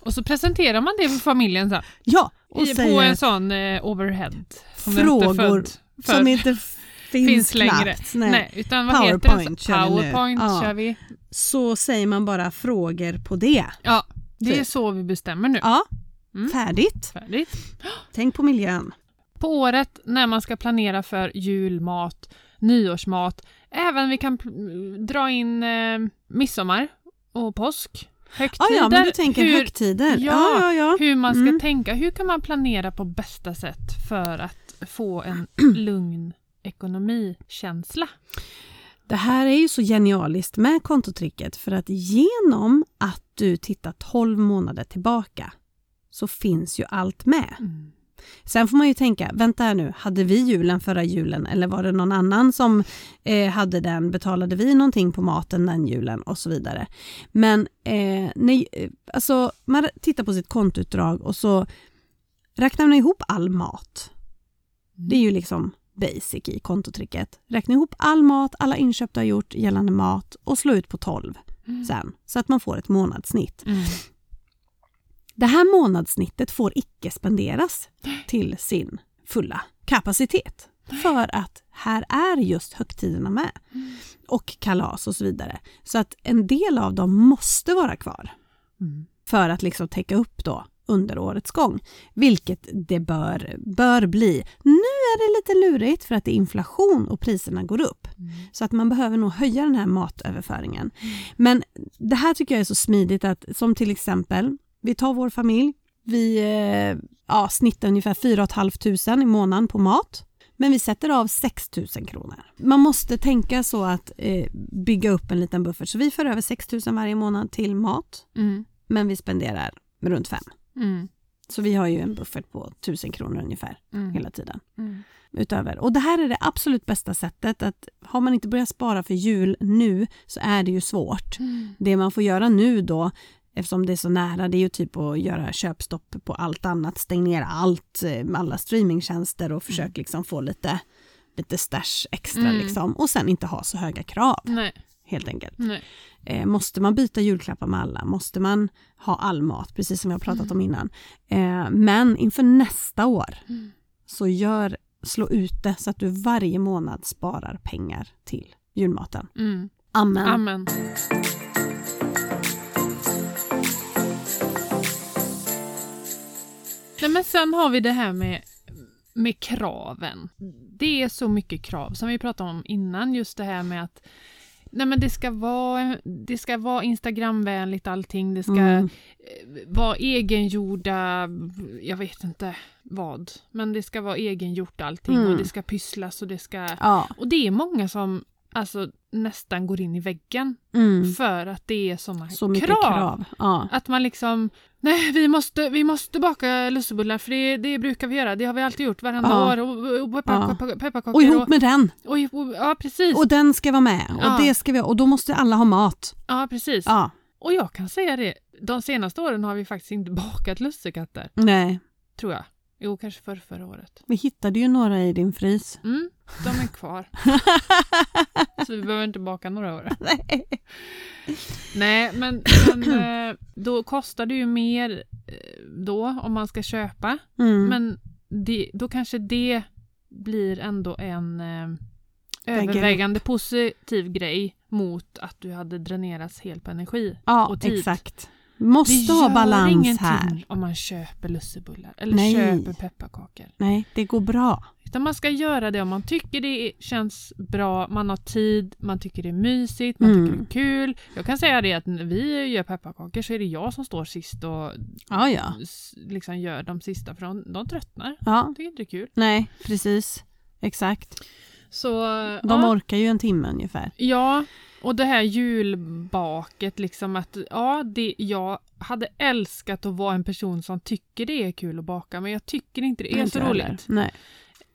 Speaker 2: och så presenterar man det för familjen sen.
Speaker 1: Ja, och
Speaker 2: I, på
Speaker 1: säger
Speaker 2: en sån eh, overhead. Som
Speaker 1: Frågor
Speaker 2: inte född för.
Speaker 1: som inte f- finns,
Speaker 2: finns längre.
Speaker 1: knappt.
Speaker 2: Nej.
Speaker 1: Nej.
Speaker 2: utan vad heter den?
Speaker 1: PowerPoint
Speaker 2: Så-
Speaker 1: kör vi nu.
Speaker 2: PowerPoint
Speaker 1: Ja.
Speaker 2: kör vi.
Speaker 1: Så säger man bara frågor på det.
Speaker 2: Ja, det är
Speaker 1: Typ.
Speaker 2: så vi bestämmer nu.
Speaker 1: Ja,
Speaker 2: Mm.
Speaker 1: färdigt.
Speaker 2: Färdigt.
Speaker 1: Tänk på miljön.
Speaker 2: På året när man ska planera för julmat, nyårsmat, även vi kan pl- dra in eh, midsommar och påsk.
Speaker 1: Ah,
Speaker 2: Högtider.
Speaker 1: ja, men du tänker
Speaker 2: hur,
Speaker 1: högtider.
Speaker 2: Ja,
Speaker 1: ja, ja.
Speaker 2: hur man ska
Speaker 1: Mm.
Speaker 2: tänka. Hur kan man planera på bästa sätt för att få en lugn ekonomikänsla?
Speaker 1: Det här är ju så genialiskt med kontotricket för att genom att du tittar 12 månader tillbaka så finns ju allt med.
Speaker 2: Mm.
Speaker 1: Sen får man ju tänka, vänta här nu, hade vi julen förra julen eller var det någon annan som eh, hade den? Betalade vi någonting på maten den julen och så vidare? Men eh, nej, eh, alltså, man tittar på sitt kontoutdrag och så räknar man ihop all mat. Det är ju liksom basic i kontotricket. Räkna ihop all mat, alla inköp du har gjort gällande mat och slå ut på 12 sen så att man får ett månadssnitt.
Speaker 2: Mm.
Speaker 1: Det här månadssnittet får icke spenderas till sin fulla kapacitet. För att här är just högtiderna med. Och kalas och så vidare. Så att en del av dem måste vara kvar
Speaker 2: Mm.
Speaker 1: för att liksom täcka upp då under årets gång, vilket det bör, bör bli. Nu är det lite lurigt för att det är inflation och priserna går upp. Så att man behöver nog höja den här matöverföringen. Men det här tycker jag är så smidigt att som till exempel, vi tar vår familj, vi eh, ja, snittar ungefär 4 500 i månaden på mat. Men vi sätter av 6 000 kronor. Man måste tänka så att eh, bygga upp en liten buffert. Så vi för över 6 000 varje månad till mat
Speaker 2: Mm.
Speaker 1: men vi spenderar runt fem.
Speaker 2: Mm.
Speaker 1: Så vi har ju en buffert på 1000 kronor ungefär
Speaker 2: Mm.
Speaker 1: hela tiden.
Speaker 2: Mm.
Speaker 1: Utöver. Och det här är det absolut bästa sättet att har man inte börjat spara för jul nu så är det ju svårt. Det man får göra nu då eftersom det är så nära det är ju typ att göra köpstopp på allt annat, stäng ner allt, eh, alla streamingtjänster och försök liksom få lite, lite stash extra
Speaker 2: Mm.
Speaker 1: liksom. Och sen inte ha så höga krav
Speaker 2: Nej,
Speaker 1: helt enkelt.
Speaker 2: nej.
Speaker 1: Eh, måste man byta julklappar med alla? Måste man ha all mat? Precis som vi har pratat om innan. Eh, men inför nästa år
Speaker 2: Mm.
Speaker 1: så gör, slå ut det så att du varje månad sparar pengar till julmaten.
Speaker 2: Mm.
Speaker 1: Amen.
Speaker 2: Amen. Nej, men sen har vi det här med, med kraven. Det är så mycket krav som vi pratade om innan, just det här med att Nej men det ska vara, det ska vara Instagramvänligt allting, det ska
Speaker 1: Mm.
Speaker 2: eh, vara egengjorda, jag vet inte vad. Men det ska vara egengjort allting
Speaker 1: Mm.
Speaker 2: och det ska pysslas och det ska...
Speaker 1: Ja.
Speaker 2: Och det är många som alltså nästan går in i väggen
Speaker 1: Mm.
Speaker 2: för att det är sådana
Speaker 1: Så mycket
Speaker 2: krav.
Speaker 1: krav. Ja.
Speaker 2: Att man liksom, nej vi måste, vi måste baka lussebullar för det, det brukar vi göra, det har vi alltid gjort varenda
Speaker 1: Ja.
Speaker 2: år. Och, och, och
Speaker 1: Ja.
Speaker 2: pepparkakor
Speaker 1: Och
Speaker 2: pepparkakor
Speaker 1: ihop med den.
Speaker 2: och, och, och, ja precis.
Speaker 1: Och den ska vara med. Och
Speaker 2: Ja.
Speaker 1: det ska vi Och då måste alla ha mat.
Speaker 2: ja, precis.
Speaker 1: Ja.
Speaker 2: Och jag kan säga det, de senaste åren har vi faktiskt inte bakat lussekatter,
Speaker 1: Nej.
Speaker 2: tror jag. Jo, kanske för förra året.
Speaker 1: Vi hittade ju några i din frys.
Speaker 2: Mm, de är kvar. så vi behöver inte baka några år.
Speaker 1: Nej.
Speaker 2: Nej, men, men eh, då kostar det ju mer eh, då om man ska köpa.
Speaker 1: Mm.
Speaker 2: Men det, då kanske det blir ändå en eh,
Speaker 1: Väger
Speaker 2: övervägande positiv grej mot att du hade dränerats helt på energi.
Speaker 1: ja,
Speaker 2: och typ. tid.
Speaker 1: exakt. Måste ha balans här.
Speaker 2: om man köper lussebullar eller
Speaker 1: Nej.
Speaker 2: köper pepparkakor.
Speaker 1: Nej, det går bra.
Speaker 2: Utan man ska göra det om man tycker det känns bra, man har tid, man tycker det är mysigt, man
Speaker 1: Mm.
Speaker 2: tycker det är kul. Jag kan säga det att när vi gör pepparkakor så är det jag som står sist och
Speaker 1: Ja, Ah, ja.
Speaker 2: s- liksom gör de sista för de, de tröttnar.
Speaker 1: Ja,
Speaker 2: Jag tycker inte det är kul.
Speaker 1: nej, precis. Exakt.
Speaker 2: Så,
Speaker 1: De
Speaker 2: ja.
Speaker 1: orkar ju en timme ungefär.
Speaker 2: Ja, och det här julbaket liksom att ja, det, jag hade älskat att vara en person som tycker det är kul att baka men jag tycker inte det är
Speaker 1: Inte
Speaker 2: så
Speaker 1: jag
Speaker 2: roligt.
Speaker 1: heller. Nej.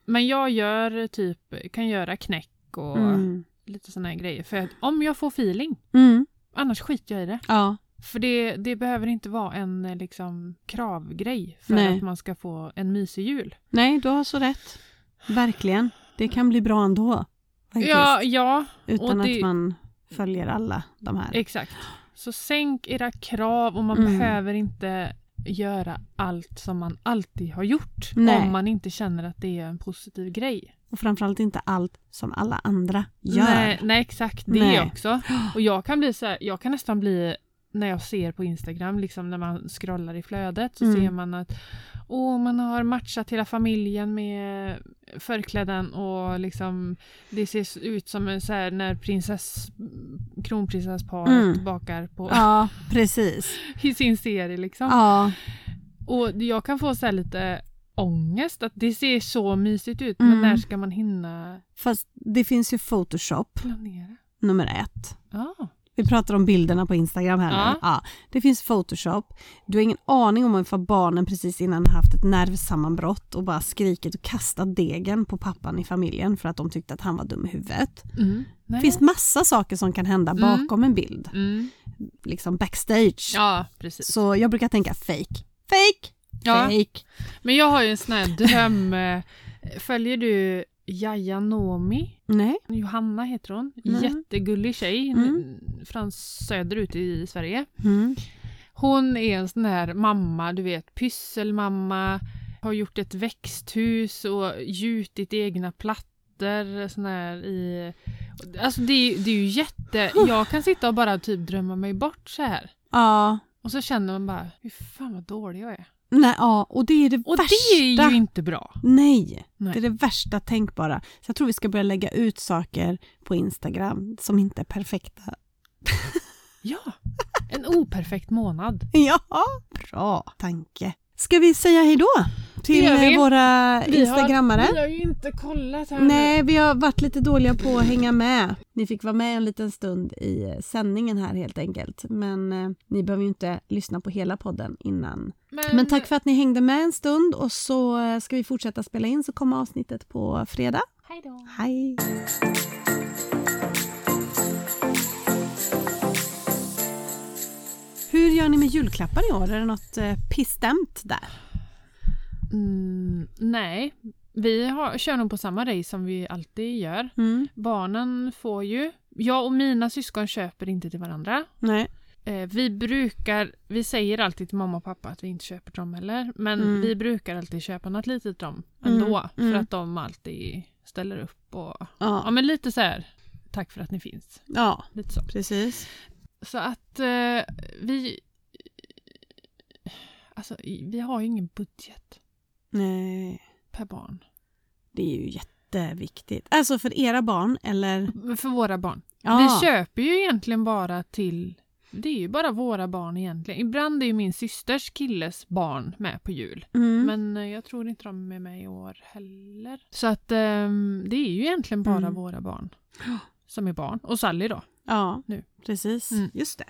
Speaker 2: Men jag gör typ, kan göra knäck och
Speaker 1: Mm.
Speaker 2: lite sådana här grejer för att om jag får feeling,
Speaker 1: Mm.
Speaker 2: annars skiter jag i det.
Speaker 1: Ja,
Speaker 2: För det, det behöver inte vara en eh, liksom kravgrej för
Speaker 1: Nej.
Speaker 2: att man ska få en mysig jul.
Speaker 1: nej, du har så rätt. Verkligen. Det kan bli bra ändå. Faktiskt.
Speaker 2: Ja, ja,
Speaker 1: Utan
Speaker 2: och det-
Speaker 1: att man följer alla de här.
Speaker 2: Exakt. Så sänk era krav och man
Speaker 1: Mm.
Speaker 2: behöver inte göra allt som man alltid har gjort
Speaker 1: Nej.
Speaker 2: om man inte känner att det är en positiv grej.
Speaker 1: Och framförallt inte allt som alla andra gör.
Speaker 2: Nej, nej exakt, det
Speaker 1: Nej.
Speaker 2: också. Och jag kan bli så här, jag kan nästan bli när jag ser på Instagram, liksom när man scrollar i flödet så
Speaker 1: Mm.
Speaker 2: ser man att åh, man har matchat hela familjen med förkläden och liksom det ser ut som en så här när prinsess, kronprinsessparet
Speaker 1: Mm.
Speaker 2: bakar på,
Speaker 1: Ja, precis.
Speaker 2: i sin serie liksom.
Speaker 1: Ja,
Speaker 2: Och jag kan få så här lite ångest att det ser så mysigt ut
Speaker 1: Mm.
Speaker 2: men när ska man hinna
Speaker 1: fast det finns ju Photoshop
Speaker 2: planera?
Speaker 1: nummer ett.
Speaker 2: Ja.
Speaker 1: Vi pratar om bilderna på Instagram här nu.
Speaker 2: Ja.
Speaker 1: Ja, det finns Photoshop. Du har ingen aning om ifall barnen precis innan haft ett nervsammanbrott och bara skrikit och kastat degen på pappan i familjen för att de tyckte att han var dum i huvudet.
Speaker 2: Mm. Nej.
Speaker 1: Det finns massa saker som kan hända
Speaker 2: Mm.
Speaker 1: bakom en bild,
Speaker 2: mm.
Speaker 1: liksom backstage.
Speaker 2: Ja, precis.
Speaker 1: Så jag brukar tänka fake, fake,
Speaker 2: Ja.
Speaker 1: fake.
Speaker 2: Men jag har ju en sån här dröm. eh, Följer du Yahya Nomi?
Speaker 1: Nej.
Speaker 2: Johanna heter hon.
Speaker 1: Mm.
Speaker 2: Jättegullig tjej
Speaker 1: Mm.
Speaker 2: från söderut i Sverige.
Speaker 1: Mm.
Speaker 2: Hon är en sån här mamma, du vet, pysselmamma, har gjort ett växthus och gjutit egna plattor sån här i... Alltså det, är- det är ju jätte... Jag kan sitta och bara typ drömma mig bort så här.
Speaker 1: Ja.
Speaker 2: Och så känner man bara, hur fan vad dålig jag är.
Speaker 1: Nej, ja, och det är det
Speaker 2: Och
Speaker 1: värsta.
Speaker 2: det är ju inte bra.
Speaker 1: Nej,
Speaker 2: Nej.
Speaker 1: det är det värsta tänkbara. Så jag tror vi ska börja lägga ut saker på Instagram som inte är perfekta.
Speaker 2: Ja, en operfekt månad.
Speaker 1: Ja, bra tanke. Ska vi säga hej då till
Speaker 2: Det gör vi.
Speaker 1: eh, våra instagrammare?
Speaker 2: Har, vi har ju inte kollat här nu.
Speaker 1: Nej, vi har varit lite dåliga på att hänga med. Ni fick vara med en liten stund i eh, sändningen här helt enkelt. Men eh, ni behöver ju inte lyssna på hela podden innan. Men tack för att ni hängde med en stund och så eh, ska vi fortsätta spela in så kommer avsnittet på fredag.
Speaker 2: Hej då.
Speaker 1: Hej! Hur gör ni med julklappar i år? Är det något eh, pistämt där?
Speaker 2: Mm, nej, vi har, kör nog på samma race som vi alltid gör.
Speaker 1: Mm.
Speaker 2: Barnen får ju. Jag och mina syskon köper inte till varandra.
Speaker 1: Nej.
Speaker 2: Eh, vi brukar, vi säger alltid till mamma och pappa att vi inte köper till dem heller. Men
Speaker 1: Mm.
Speaker 2: vi brukar alltid köpa något litet till dem
Speaker 1: Mm,
Speaker 2: ändå. För
Speaker 1: mm.
Speaker 2: att de alltid ställer upp och... Ja
Speaker 1: Ja.
Speaker 2: men lite så här. Tack för att ni finns.
Speaker 1: ja,
Speaker 2: Lite så.
Speaker 1: precis.
Speaker 2: Så att eh, vi... Alltså vi har ju ingen budget
Speaker 1: Nej,
Speaker 2: per barn.
Speaker 1: det är ju jätte jätteviktigt. Alltså för era barn eller?
Speaker 2: För våra barn.
Speaker 1: Ja.
Speaker 2: Vi köper ju egentligen bara till... Det är ju bara våra barn egentligen. Ibland är ju min systers killes barn med på jul.
Speaker 1: Mm.
Speaker 2: Men eh, jag tror inte de är med i år heller. Så att ehm, det är ju egentligen bara
Speaker 1: Mm.
Speaker 2: våra barn som är barn. Och Sally då.
Speaker 1: ja,
Speaker 2: nu.
Speaker 1: precis.
Speaker 2: Mm.
Speaker 1: Just det.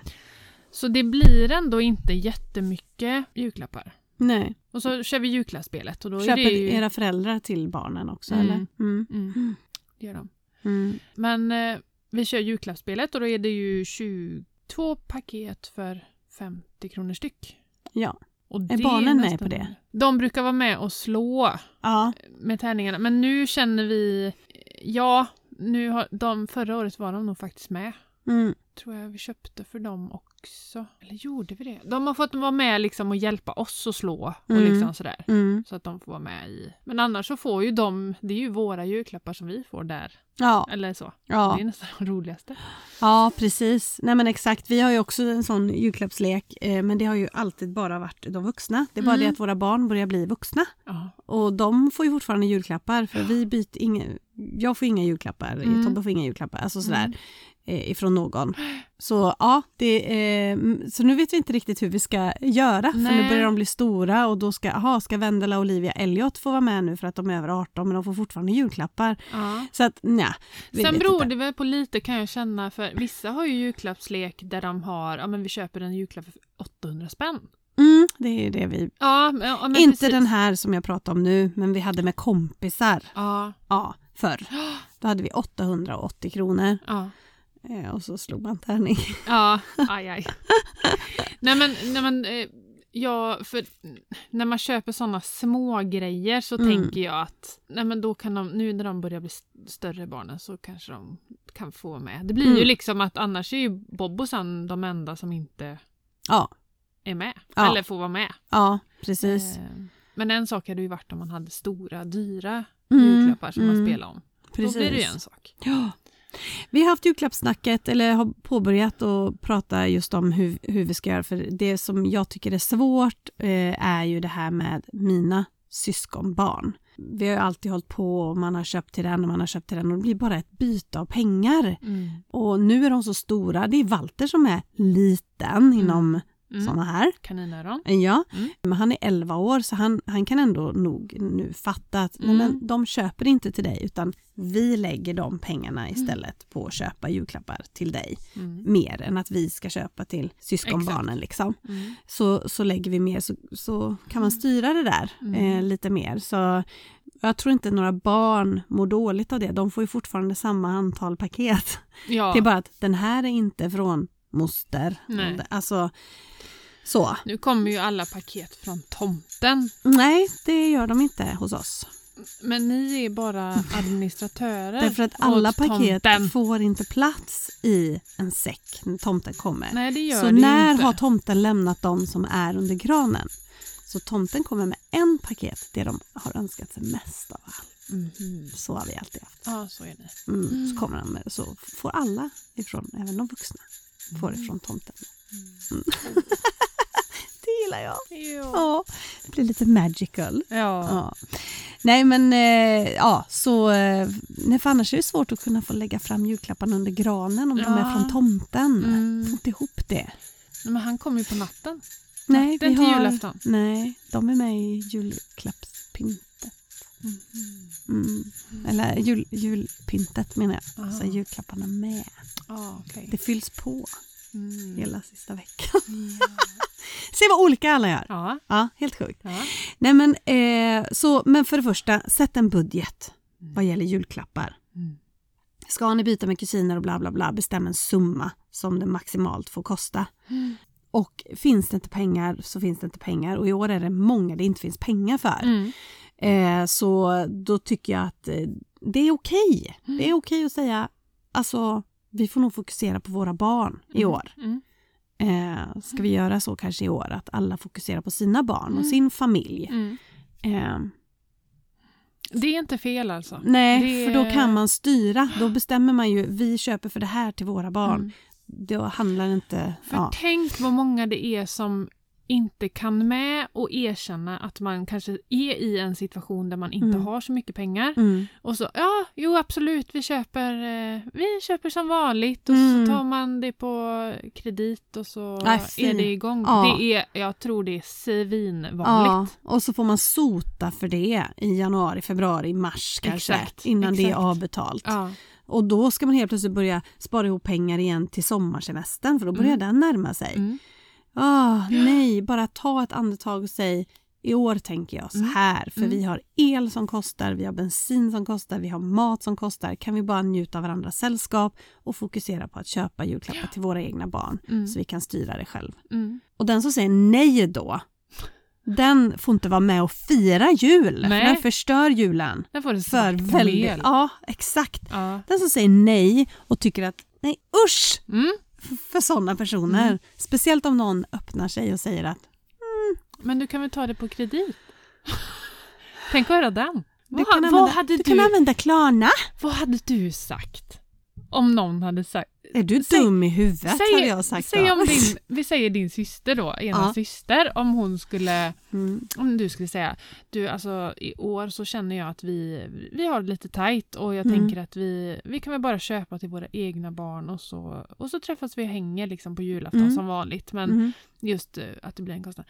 Speaker 2: Så det blir ändå inte jättemycket julklappar.
Speaker 1: Nej.
Speaker 2: Och så kör vi julklappsspelet och då är
Speaker 1: Köper
Speaker 2: det ju...
Speaker 1: era föräldrar till barnen också
Speaker 2: Mm.
Speaker 1: eller? Mm.
Speaker 2: Mm, det gör de.
Speaker 1: Mm.
Speaker 2: Men eh, vi kör julklappsspelet och då är det ju 22 paket för 50 kronor styck.
Speaker 1: Ja.
Speaker 2: Och
Speaker 1: Är barnen med
Speaker 2: nästan-
Speaker 1: på det?
Speaker 2: De brukar vara med och slå
Speaker 1: Ja.
Speaker 2: med tärningarna. Men nu känner vi... eh, Ja, nu har de, förra året var de nog faktiskt med.
Speaker 1: Mm.
Speaker 2: Tror jag vi köpte för dem också. Eller gjorde vi det? De har fått vara med liksom och hjälpa oss att slå och
Speaker 1: Mm.
Speaker 2: liksom sådär.
Speaker 1: Mm.
Speaker 2: Så att de får vara med i... Men annars så får ju de... Det är ju våra julklappar som vi får där.
Speaker 1: Ja,
Speaker 2: Eller så.
Speaker 1: ja.
Speaker 2: Det är nästan det roligaste.
Speaker 1: Ja, precis. Nej men exakt, vi har ju också en sån julklappslek eh, men det har ju alltid bara varit de vuxna. Det är bara
Speaker 2: Mm.
Speaker 1: det att våra barn börjar bli vuxna
Speaker 2: Ja.
Speaker 1: och de får ju fortfarande julklappar för vi byter inga, jag får inga julklappar,
Speaker 2: Mm.
Speaker 1: Tobbe får inga julklappar, alltså sådär
Speaker 2: Mm.
Speaker 1: eh, ifrån någon. Så ja, det, eh, m- så nu vet vi inte riktigt hur vi ska göra för nu
Speaker 2: Nej.
Speaker 1: börjar de bli stora och då ska, aha, ska Vendela och Olivia Elliot få vara med nu för att de är över 18 men de får fortfarande julklappar.
Speaker 2: Ja.
Speaker 1: Så att nja. vi
Speaker 2: Sen
Speaker 1: vet
Speaker 2: beror
Speaker 1: inte.
Speaker 2: det väl på lite kan jag känna för vissa har ju julklappslek där de har, ja men vi köper en julklapp för 800 spänn.
Speaker 1: Mm, det är ju det vi
Speaker 2: Ja, men, ja, men
Speaker 1: inte
Speaker 2: precis.
Speaker 1: den här som jag pratar om nu, men vi hade med kompisar
Speaker 2: Ja,
Speaker 1: ja, förr. Då hade vi 880 kronor
Speaker 2: ja,
Speaker 1: eh, och så slog man tärning.
Speaker 2: ja, aj aj. nej men, nej men, eh, ja, för när man köper sådana små grejer så
Speaker 1: Mm.
Speaker 2: tänker jag att, nej men då kan de, nu när de börjar bli st- större barnen så kanske de kan få med. Det blir ju
Speaker 1: Mm.
Speaker 2: liksom att annars är ju Bob och Sam de enda som inte
Speaker 1: Ja,
Speaker 2: är med.
Speaker 1: Ja.
Speaker 2: Eller får vara med.
Speaker 1: ja precis.
Speaker 2: Eh, Men en sak hade det ju varit om man hade stora, dyra
Speaker 1: Mm,
Speaker 2: julklappar som man
Speaker 1: mm,
Speaker 2: spelar om.
Speaker 1: precis.
Speaker 2: Då blir det ju en sak.
Speaker 1: Ja. Vi har haft julklappssnacket, eller har påbörjat att prata just om hur, hur vi ska göra. För det som jag tycker är svårt eh, är ju det här med mina syskonbarn. Vi har ju alltid hållit på och man har köpt till den och man har köpt till den och det blir bara ett byte av pengar.
Speaker 2: Mm.
Speaker 1: Och nu är de så stora. Det är Walter som är liten inom
Speaker 2: Mm.
Speaker 1: sådana här.
Speaker 2: Kaninöron.
Speaker 1: Ja,
Speaker 2: Mm.
Speaker 1: men han är 11 år så han, han kan ändå nog nu fatta att nej,
Speaker 2: Mm.
Speaker 1: men de köper inte till dig utan vi lägger de pengarna istället på att köpa julklappar till dig.
Speaker 2: Mm.
Speaker 1: Mer än att vi ska köpa till syskonbarnen liksom.
Speaker 2: Mm.
Speaker 1: Så, så lägger vi mer så, så kan man styra det där
Speaker 2: Mm.
Speaker 1: eh, lite mer. Så jag tror inte några barn mår dåligt av det. De får ju fortfarande samma antal paket.
Speaker 2: Ja,
Speaker 1: Det är bara att den här är inte från moster.
Speaker 2: Nej.
Speaker 1: Alltså, så.
Speaker 2: nu kommer ju alla paket från tomten.
Speaker 1: Nej, det gör de inte hos oss.
Speaker 2: Men ni är bara administratörer
Speaker 1: Därför att alla
Speaker 2: åt
Speaker 1: paket
Speaker 2: Äh, tomten.
Speaker 1: får inte plats i en säck när tomten kommer.
Speaker 2: Nej, det gör
Speaker 1: så
Speaker 2: det ju
Speaker 1: när
Speaker 2: inte.
Speaker 1: har tomten lämnat de som är under granen? Så tomten kommer med en paket, det de har önskat sig mest av allt.
Speaker 2: Mhm.
Speaker 1: Så har vi alltid haft.
Speaker 2: Ja, så är det.
Speaker 1: Mm.
Speaker 2: Mm.
Speaker 1: Så, kommer han med, så får alla ifrån, även de vuxna, får ifrån tomten. Mm. det gillar jag.
Speaker 2: Ja.
Speaker 1: Ja, det blir lite magical.
Speaker 2: Ja.
Speaker 1: Ja. Nej men eh, ja, så eh, nej, för annars är det svårt att kunna få lägga fram julklapparna under granen om de
Speaker 2: Ja.
Speaker 1: är från tomten.
Speaker 2: Mm.
Speaker 1: Får inte ihop det.
Speaker 2: Men han kommer ju på natten.
Speaker 1: Nej,
Speaker 2: Den till julafton.
Speaker 1: Nej, de är med i julklappspyntet. Mm. Eller jul, julpyntet menar jag.
Speaker 2: Aha.
Speaker 1: Så är julklapparna med.
Speaker 2: Ja, okej.
Speaker 1: Det fylls på
Speaker 2: Mm.
Speaker 1: hela sista veckan. Se vad olika alla gör.
Speaker 2: Ja.
Speaker 1: Ja, helt sjukt.
Speaker 2: ja.
Speaker 1: Nej men, eh, så, men för det första, sätt en budget vad gäller julklappar.
Speaker 2: Mm.
Speaker 1: Ska ni byta med kusiner och bla bla bla, bestäm en summa som det maximalt får kosta.
Speaker 2: Mm.
Speaker 1: Och finns det inte pengar så finns det inte pengar och i år är det många det inte finns pengar för.
Speaker 2: Mm.
Speaker 1: Eh, så då tycker jag att eh, det är okej.
Speaker 2: Mm.
Speaker 1: Det är okej att säga, alltså vi får nog fokusera på våra barn i år.
Speaker 2: Mm.
Speaker 1: Eh, ska vi göra så kanske i år att alla fokuserar på sina barn och sin familj.
Speaker 2: Mm.
Speaker 1: Eh,
Speaker 2: Det är inte fel alltså.
Speaker 1: Nej,
Speaker 2: Det-
Speaker 1: för då kan man styra. Då bestämmer man ju, vi köper för det här till våra barn.
Speaker 2: Mm.
Speaker 1: Då handlar det inte...
Speaker 2: För
Speaker 1: Ja.
Speaker 2: tänk vad många det är som inte kan med och erkänna att man kanske är i en situation där man inte
Speaker 1: Mm.
Speaker 2: har så mycket pengar.
Speaker 1: Mm.
Speaker 2: Och så, ja, jo absolut, vi köper, eh, vi köper som vanligt och
Speaker 1: Mm.
Speaker 2: så tar man det på kredit och så
Speaker 1: Nej,
Speaker 2: är
Speaker 1: fy.
Speaker 2: det igång.
Speaker 1: Ja.
Speaker 2: Det är, jag tror det är svinvanligt.
Speaker 1: Ja, och så får man sota för det i januari, februari, mars kanske
Speaker 2: Exakt,
Speaker 1: innan det är
Speaker 2: exakt.
Speaker 1: avbetalt.
Speaker 2: Ja.
Speaker 1: Och då ska man helt plötsligt börja spara ihop pengar igen till sommarsemestern för då börjar
Speaker 2: Mm.
Speaker 1: den närma sig.
Speaker 2: Mm.
Speaker 1: Ah, nej, bara ta ett andetag och säg i år tänker jag så
Speaker 2: Mm.
Speaker 1: här för
Speaker 2: Mm.
Speaker 1: vi har el som kostar, vi har bensin som kostar, vi har mat som kostar. Kan vi bara njuta av varandras sällskap och fokusera på att köpa julklappar till våra egna barn
Speaker 2: Mm.
Speaker 1: så vi kan styra det själv.
Speaker 2: Mm.
Speaker 1: Och den som säger nej då, den får inte vara med och fira jul
Speaker 2: Nej.
Speaker 1: för den förstör julen.
Speaker 2: Där får du
Speaker 1: För
Speaker 2: svart
Speaker 1: väldigt,
Speaker 2: väldigt...
Speaker 1: ja, exakt.
Speaker 2: Ja.
Speaker 1: Den som säger nej och tycker att nej usch
Speaker 2: Mm.
Speaker 1: f- för sådana personer.
Speaker 2: Mm.
Speaker 1: Speciellt om någon öppnar sig och säger att
Speaker 2: Men du kan väl ta det på kredit? Tänk att höra den.
Speaker 1: du
Speaker 2: Vad,
Speaker 1: kan,
Speaker 2: vad,
Speaker 1: använda,
Speaker 2: hade
Speaker 1: du
Speaker 2: du,
Speaker 1: kan använda Klarna.
Speaker 2: vad hade du sagt? Om någon hade sagt...
Speaker 1: Är du
Speaker 2: Säg-
Speaker 1: dum i huvudet hade jag sagt
Speaker 2: säg
Speaker 1: då.
Speaker 2: om din, vi säger din syster då, ena
Speaker 1: Ja.
Speaker 2: syster, om hon skulle,
Speaker 1: Mm.
Speaker 2: om du skulle säga, du alltså i år så känner jag att vi, vi har det lite tajt och jag
Speaker 1: Mm.
Speaker 2: tänker att vi, vi kan väl bara köpa till våra egna barn och så, och så träffas vi och hänger liksom på julafton
Speaker 1: Mm.
Speaker 2: som vanligt men
Speaker 1: Mm.
Speaker 2: just eh, att det blir en kostnad.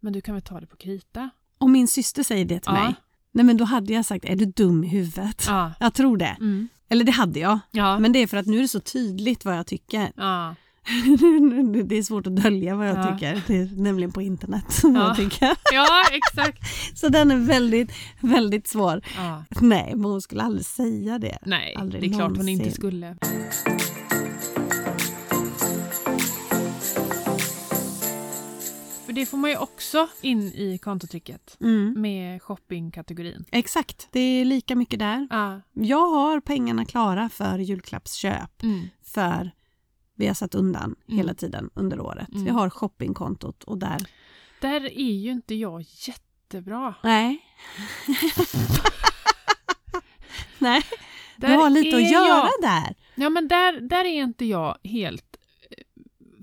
Speaker 2: Men du kan väl ta det på krita?
Speaker 1: Om min syster säger det till
Speaker 2: Ja.
Speaker 1: mig, nej men då hade jag sagt är du dum i huvudet?
Speaker 2: Ja.
Speaker 1: Jag tror det.
Speaker 2: Mm.
Speaker 1: Eller det hade jag.
Speaker 2: Ja.
Speaker 1: Men det är för att nu är det så tydligt vad jag tycker.
Speaker 2: ja.
Speaker 1: det är svårt att dölja vad jag
Speaker 2: Ja.
Speaker 1: tycker. Det är nämligen på internet som
Speaker 2: Ja.
Speaker 1: jag tycker.
Speaker 2: ja, exakt.
Speaker 1: Så den är väldigt, väldigt svår.
Speaker 2: Ja.
Speaker 1: Nej, men hon skulle aldrig säga det.
Speaker 2: Nej,
Speaker 1: Aldrig
Speaker 2: det är klart hon inte
Speaker 1: någonsin.
Speaker 2: skulle. För det får man ju också in i kontotrycket
Speaker 1: Mm.
Speaker 2: med shoppingkategorin.
Speaker 1: Exakt, det är lika mycket där.
Speaker 2: Ja.
Speaker 1: Jag har pengarna klara för julklappsköp.
Speaker 2: Mm.
Speaker 1: För vi har satt undan hela tiden under året.
Speaker 2: Mm.
Speaker 1: Jag har shoppingkontot och där...
Speaker 2: Där är ju inte jag jättebra.
Speaker 1: Nej. Nej, du
Speaker 2: Där
Speaker 1: har lite
Speaker 2: är
Speaker 1: att göra
Speaker 2: Jag,
Speaker 1: där.
Speaker 2: ja, men där, där är inte jag helt eh,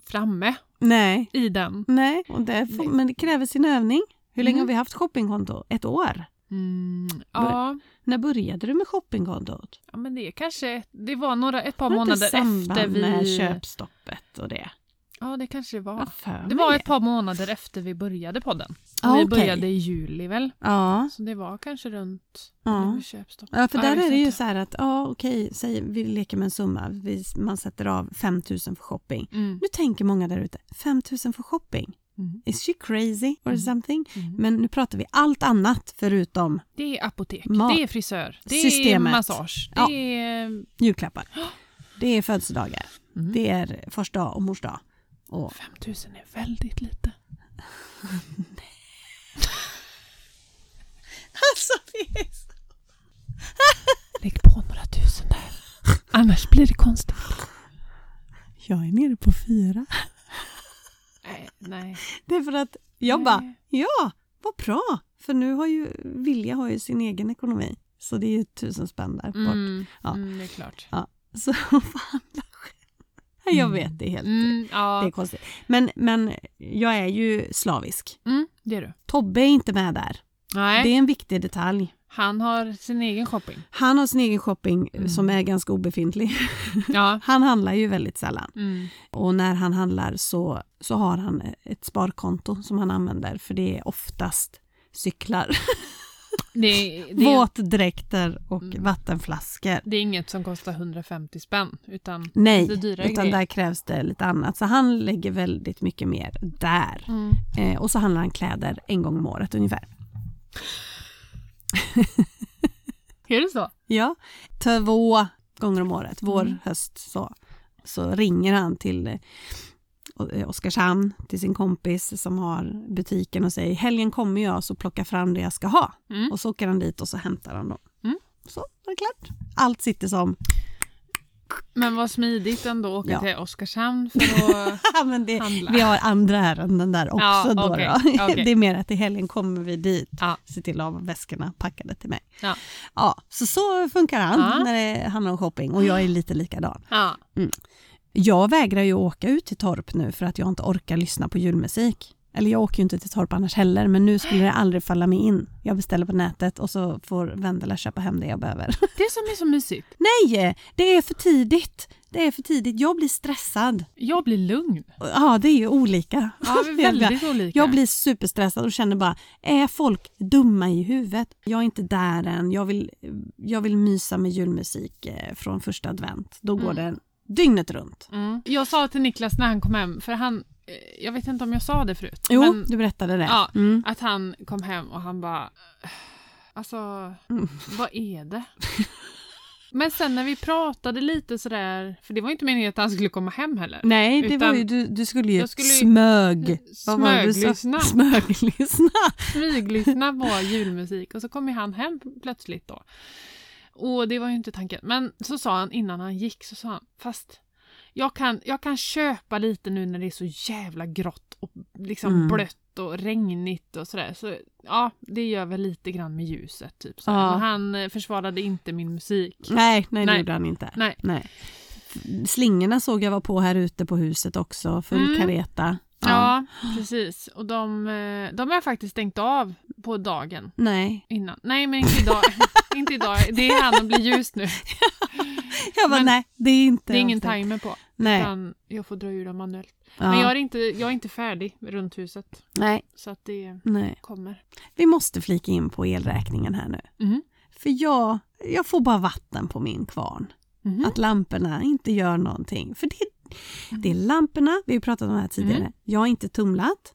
Speaker 2: framme
Speaker 1: Nej.
Speaker 2: i den.
Speaker 1: Nej, och det får,
Speaker 2: Nej.
Speaker 1: men det kräver sin övning. Hur länge
Speaker 2: Mm.
Speaker 1: har vi haft shoppingkonto? Ett år?
Speaker 2: Mm, ja,
Speaker 1: Bör- När började du med shoppingkontot?
Speaker 2: ja, men det är kanske... Det var några, ett
Speaker 1: Var
Speaker 2: par
Speaker 1: det inte
Speaker 2: månader efter
Speaker 1: samband
Speaker 2: vi...
Speaker 1: med köpstoppet och det?
Speaker 2: Ja, det kanske det var.
Speaker 1: Jag har för
Speaker 2: Det
Speaker 1: mig
Speaker 2: var ett par månader efter vi började podden.
Speaker 1: Ah,
Speaker 2: vi
Speaker 1: okej.
Speaker 2: började i juli väl?
Speaker 1: Ja.
Speaker 2: Så det var kanske runt
Speaker 1: Ja.
Speaker 2: ja. köpstopp.
Speaker 1: Ja, för
Speaker 2: Ja,
Speaker 1: där
Speaker 2: jag
Speaker 1: är det ju
Speaker 2: vet inte.
Speaker 1: så här att, ja okej, säg, vi leker med en summa, vi, man sätter av 5 000 för shopping.
Speaker 2: Mm.
Speaker 1: Nu tänker många där ute, 5 000 för shopping?
Speaker 2: Mm.
Speaker 1: Is she crazy or
Speaker 2: Mm.
Speaker 1: something?
Speaker 2: Mm.
Speaker 1: Men nu pratar vi allt annat förutom
Speaker 2: Det är apotek,
Speaker 1: Mat.
Speaker 2: det är frisör, det
Speaker 1: Systemet.
Speaker 2: är massage, det
Speaker 1: Ja.
Speaker 2: är... Mm.
Speaker 1: julklappar. Det är födelsedagar, det är fars dag och mors dag. Och
Speaker 2: 5 000 är väldigt lite.
Speaker 1: Alltså, vi är så-
Speaker 2: Lägg på några tusen där. Annars blir det konstigt.
Speaker 1: jag är nere på fyra.
Speaker 2: Nej, nej.
Speaker 1: Det är för att jag
Speaker 2: Nej.
Speaker 1: bara, ja, vad bra! För nu har ju Vilja har ju sin egen ekonomi. Så det är ju tusen spänn där bort.
Speaker 2: Mm,
Speaker 1: Ja.
Speaker 2: mm, det är klart.
Speaker 1: Så hon får handla själv. Jag vet, det är helt...
Speaker 2: Mm,
Speaker 1: Det är
Speaker 2: ja.
Speaker 1: konstigt. Men, men jag är ju slavisk.
Speaker 2: Mm, det är du.
Speaker 1: Tobbe är inte med där.
Speaker 2: Nej,
Speaker 1: Det är en viktig detalj.
Speaker 2: han har sin egen shopping.
Speaker 1: Han har sin egen shopping eh,
Speaker 2: Mm.
Speaker 1: som är ganska obefintlig.
Speaker 2: Ja.
Speaker 1: Han handlar ju väldigt sällan.
Speaker 2: Mm.
Speaker 1: Och när han handlar så, så har han ett sparkonto som han använder för det är oftast cyklar,
Speaker 2: Det, det,
Speaker 1: våtdräkter och
Speaker 2: Mm.
Speaker 1: vattenflaskor.
Speaker 2: det är inget som kostar 150 spänn, utan...
Speaker 1: Nej,
Speaker 2: Lite dyrare
Speaker 1: utan
Speaker 2: grejer.
Speaker 1: där krävs det lite annat. Så han lägger väldigt mycket mer där.
Speaker 2: Mm.
Speaker 1: Eh, och så handlar han kläder en gång om året ungefär.
Speaker 2: Är det så?
Speaker 1: Ja, två gånger om året, vår,
Speaker 2: Mm.
Speaker 1: höst så. Så ringer han till eh, O- eh, Oskarshamn, till sin kompis som har butiken och säger helgen kommer jag så plocka fram det jag ska ha.
Speaker 2: Mm.
Speaker 1: Och så åker han dit och så hämtar han dem.
Speaker 2: Mm.
Speaker 1: Så, var det klart. Allt sitter som,
Speaker 2: Men vad smidigt ändå att åka
Speaker 1: Ja.
Speaker 2: till Oskarshamn för att
Speaker 1: Ja, men det,
Speaker 2: handla.
Speaker 1: vi har andra ärenden där också
Speaker 2: Ja,
Speaker 1: då.
Speaker 2: okej,
Speaker 1: då.
Speaker 2: okej.
Speaker 1: Det är mer att i helgen kommer vi dit,
Speaker 2: Ja.
Speaker 1: se till att ha väskorna packade till mig.
Speaker 2: Ja.
Speaker 1: Ja, så så funkar han
Speaker 2: Ja.
Speaker 1: när det handlar om shopping och jag är lite likadan.
Speaker 2: Ja.
Speaker 1: Jag vägrar ju åka ut till Torp nu för att jag inte orkar lyssna på julmusik. Eller jag åker ju inte till torp annars heller, men nu skulle det aldrig falla mig in. Jag beställer på nätet och så får Vendela köpa hem det jag behöver.
Speaker 2: Det som är så mysigt.
Speaker 1: Nej, det är för tidigt. Det är för tidigt. Jag blir stressad.
Speaker 2: Jag blir lugn.
Speaker 1: Ja, det är ju olika.
Speaker 2: Ja, vi är väldigt olika.
Speaker 1: Jag blir superstressad och känner bara, är folk dumma i huvudet? Jag är inte där än. Jag vill, jag vill mysa med julmusik eh, från första advent. Då går det dygnet runt.
Speaker 2: Mm. Jag sa till Niklas när han kom hem, för han, eh, jag vet inte om jag sa det förut,
Speaker 1: Jo,
Speaker 2: men
Speaker 1: du berättade det.
Speaker 2: Ja.
Speaker 1: Mm.
Speaker 2: att han kom hem och han bara, "Eh, alltså,
Speaker 1: Mm.
Speaker 2: vad är det? Men sen när vi pratade lite sådär, för det var ju inte meningen att han skulle komma hem heller.
Speaker 1: Nej, det
Speaker 2: Utan-
Speaker 1: var ju, du, du skulle ju
Speaker 2: Jag skulle ju-
Speaker 1: smög... Vad var det du sa?
Speaker 2: Smöglyssna,
Speaker 1: Smöglyssna.
Speaker 2: smyglyssna på julmusik och så kom ju han hem plötsligt då. Och det var ju inte tanken. Men så sa han innan han gick, så sa han, fast jag kan, jag kan köpa lite nu när det är så jävla grått och liksom
Speaker 1: Mm.
Speaker 2: blött och regnigt och sådär. Så ja, det gör väl lite grann med ljuset typ. Så
Speaker 1: Ja.
Speaker 2: Men han eh, försvarade inte min musik.
Speaker 1: Nej, nej, det
Speaker 2: Mm. Nej.
Speaker 1: gjorde han inte.
Speaker 2: Nej.
Speaker 1: Nej. Slingorna såg jag var på här ute på huset också, full
Speaker 2: Mm.
Speaker 1: kareta.
Speaker 2: Ja, precis. Och de, eh, de har jag faktiskt stängt av på dagen
Speaker 1: Nej.
Speaker 2: innan. Nej, men inte idag. inte idag. Det är han och blir ljust nu.
Speaker 1: Jag bara,
Speaker 2: Men-
Speaker 1: nej, det är inte
Speaker 2: Det är ingen
Speaker 1: avstängt.
Speaker 2: timer på.
Speaker 1: Nej.
Speaker 2: Utan jag får dra ur dem manuellt.
Speaker 1: Ja.
Speaker 2: Men jag är, inte, jag är inte färdig runt huset.
Speaker 1: nej,
Speaker 2: Så att det
Speaker 1: nej.
Speaker 2: kommer.
Speaker 1: Vi måste flika in på elräkningen här nu.
Speaker 2: Mhm.
Speaker 1: För jag, jag får bara vatten på min kvarn.
Speaker 2: Mhm.
Speaker 1: Att lamporna inte gör någonting. För det, det är lamporna, vi har ju pratat om det här tidigare.
Speaker 2: Mm.
Speaker 1: Jag har inte tumlat.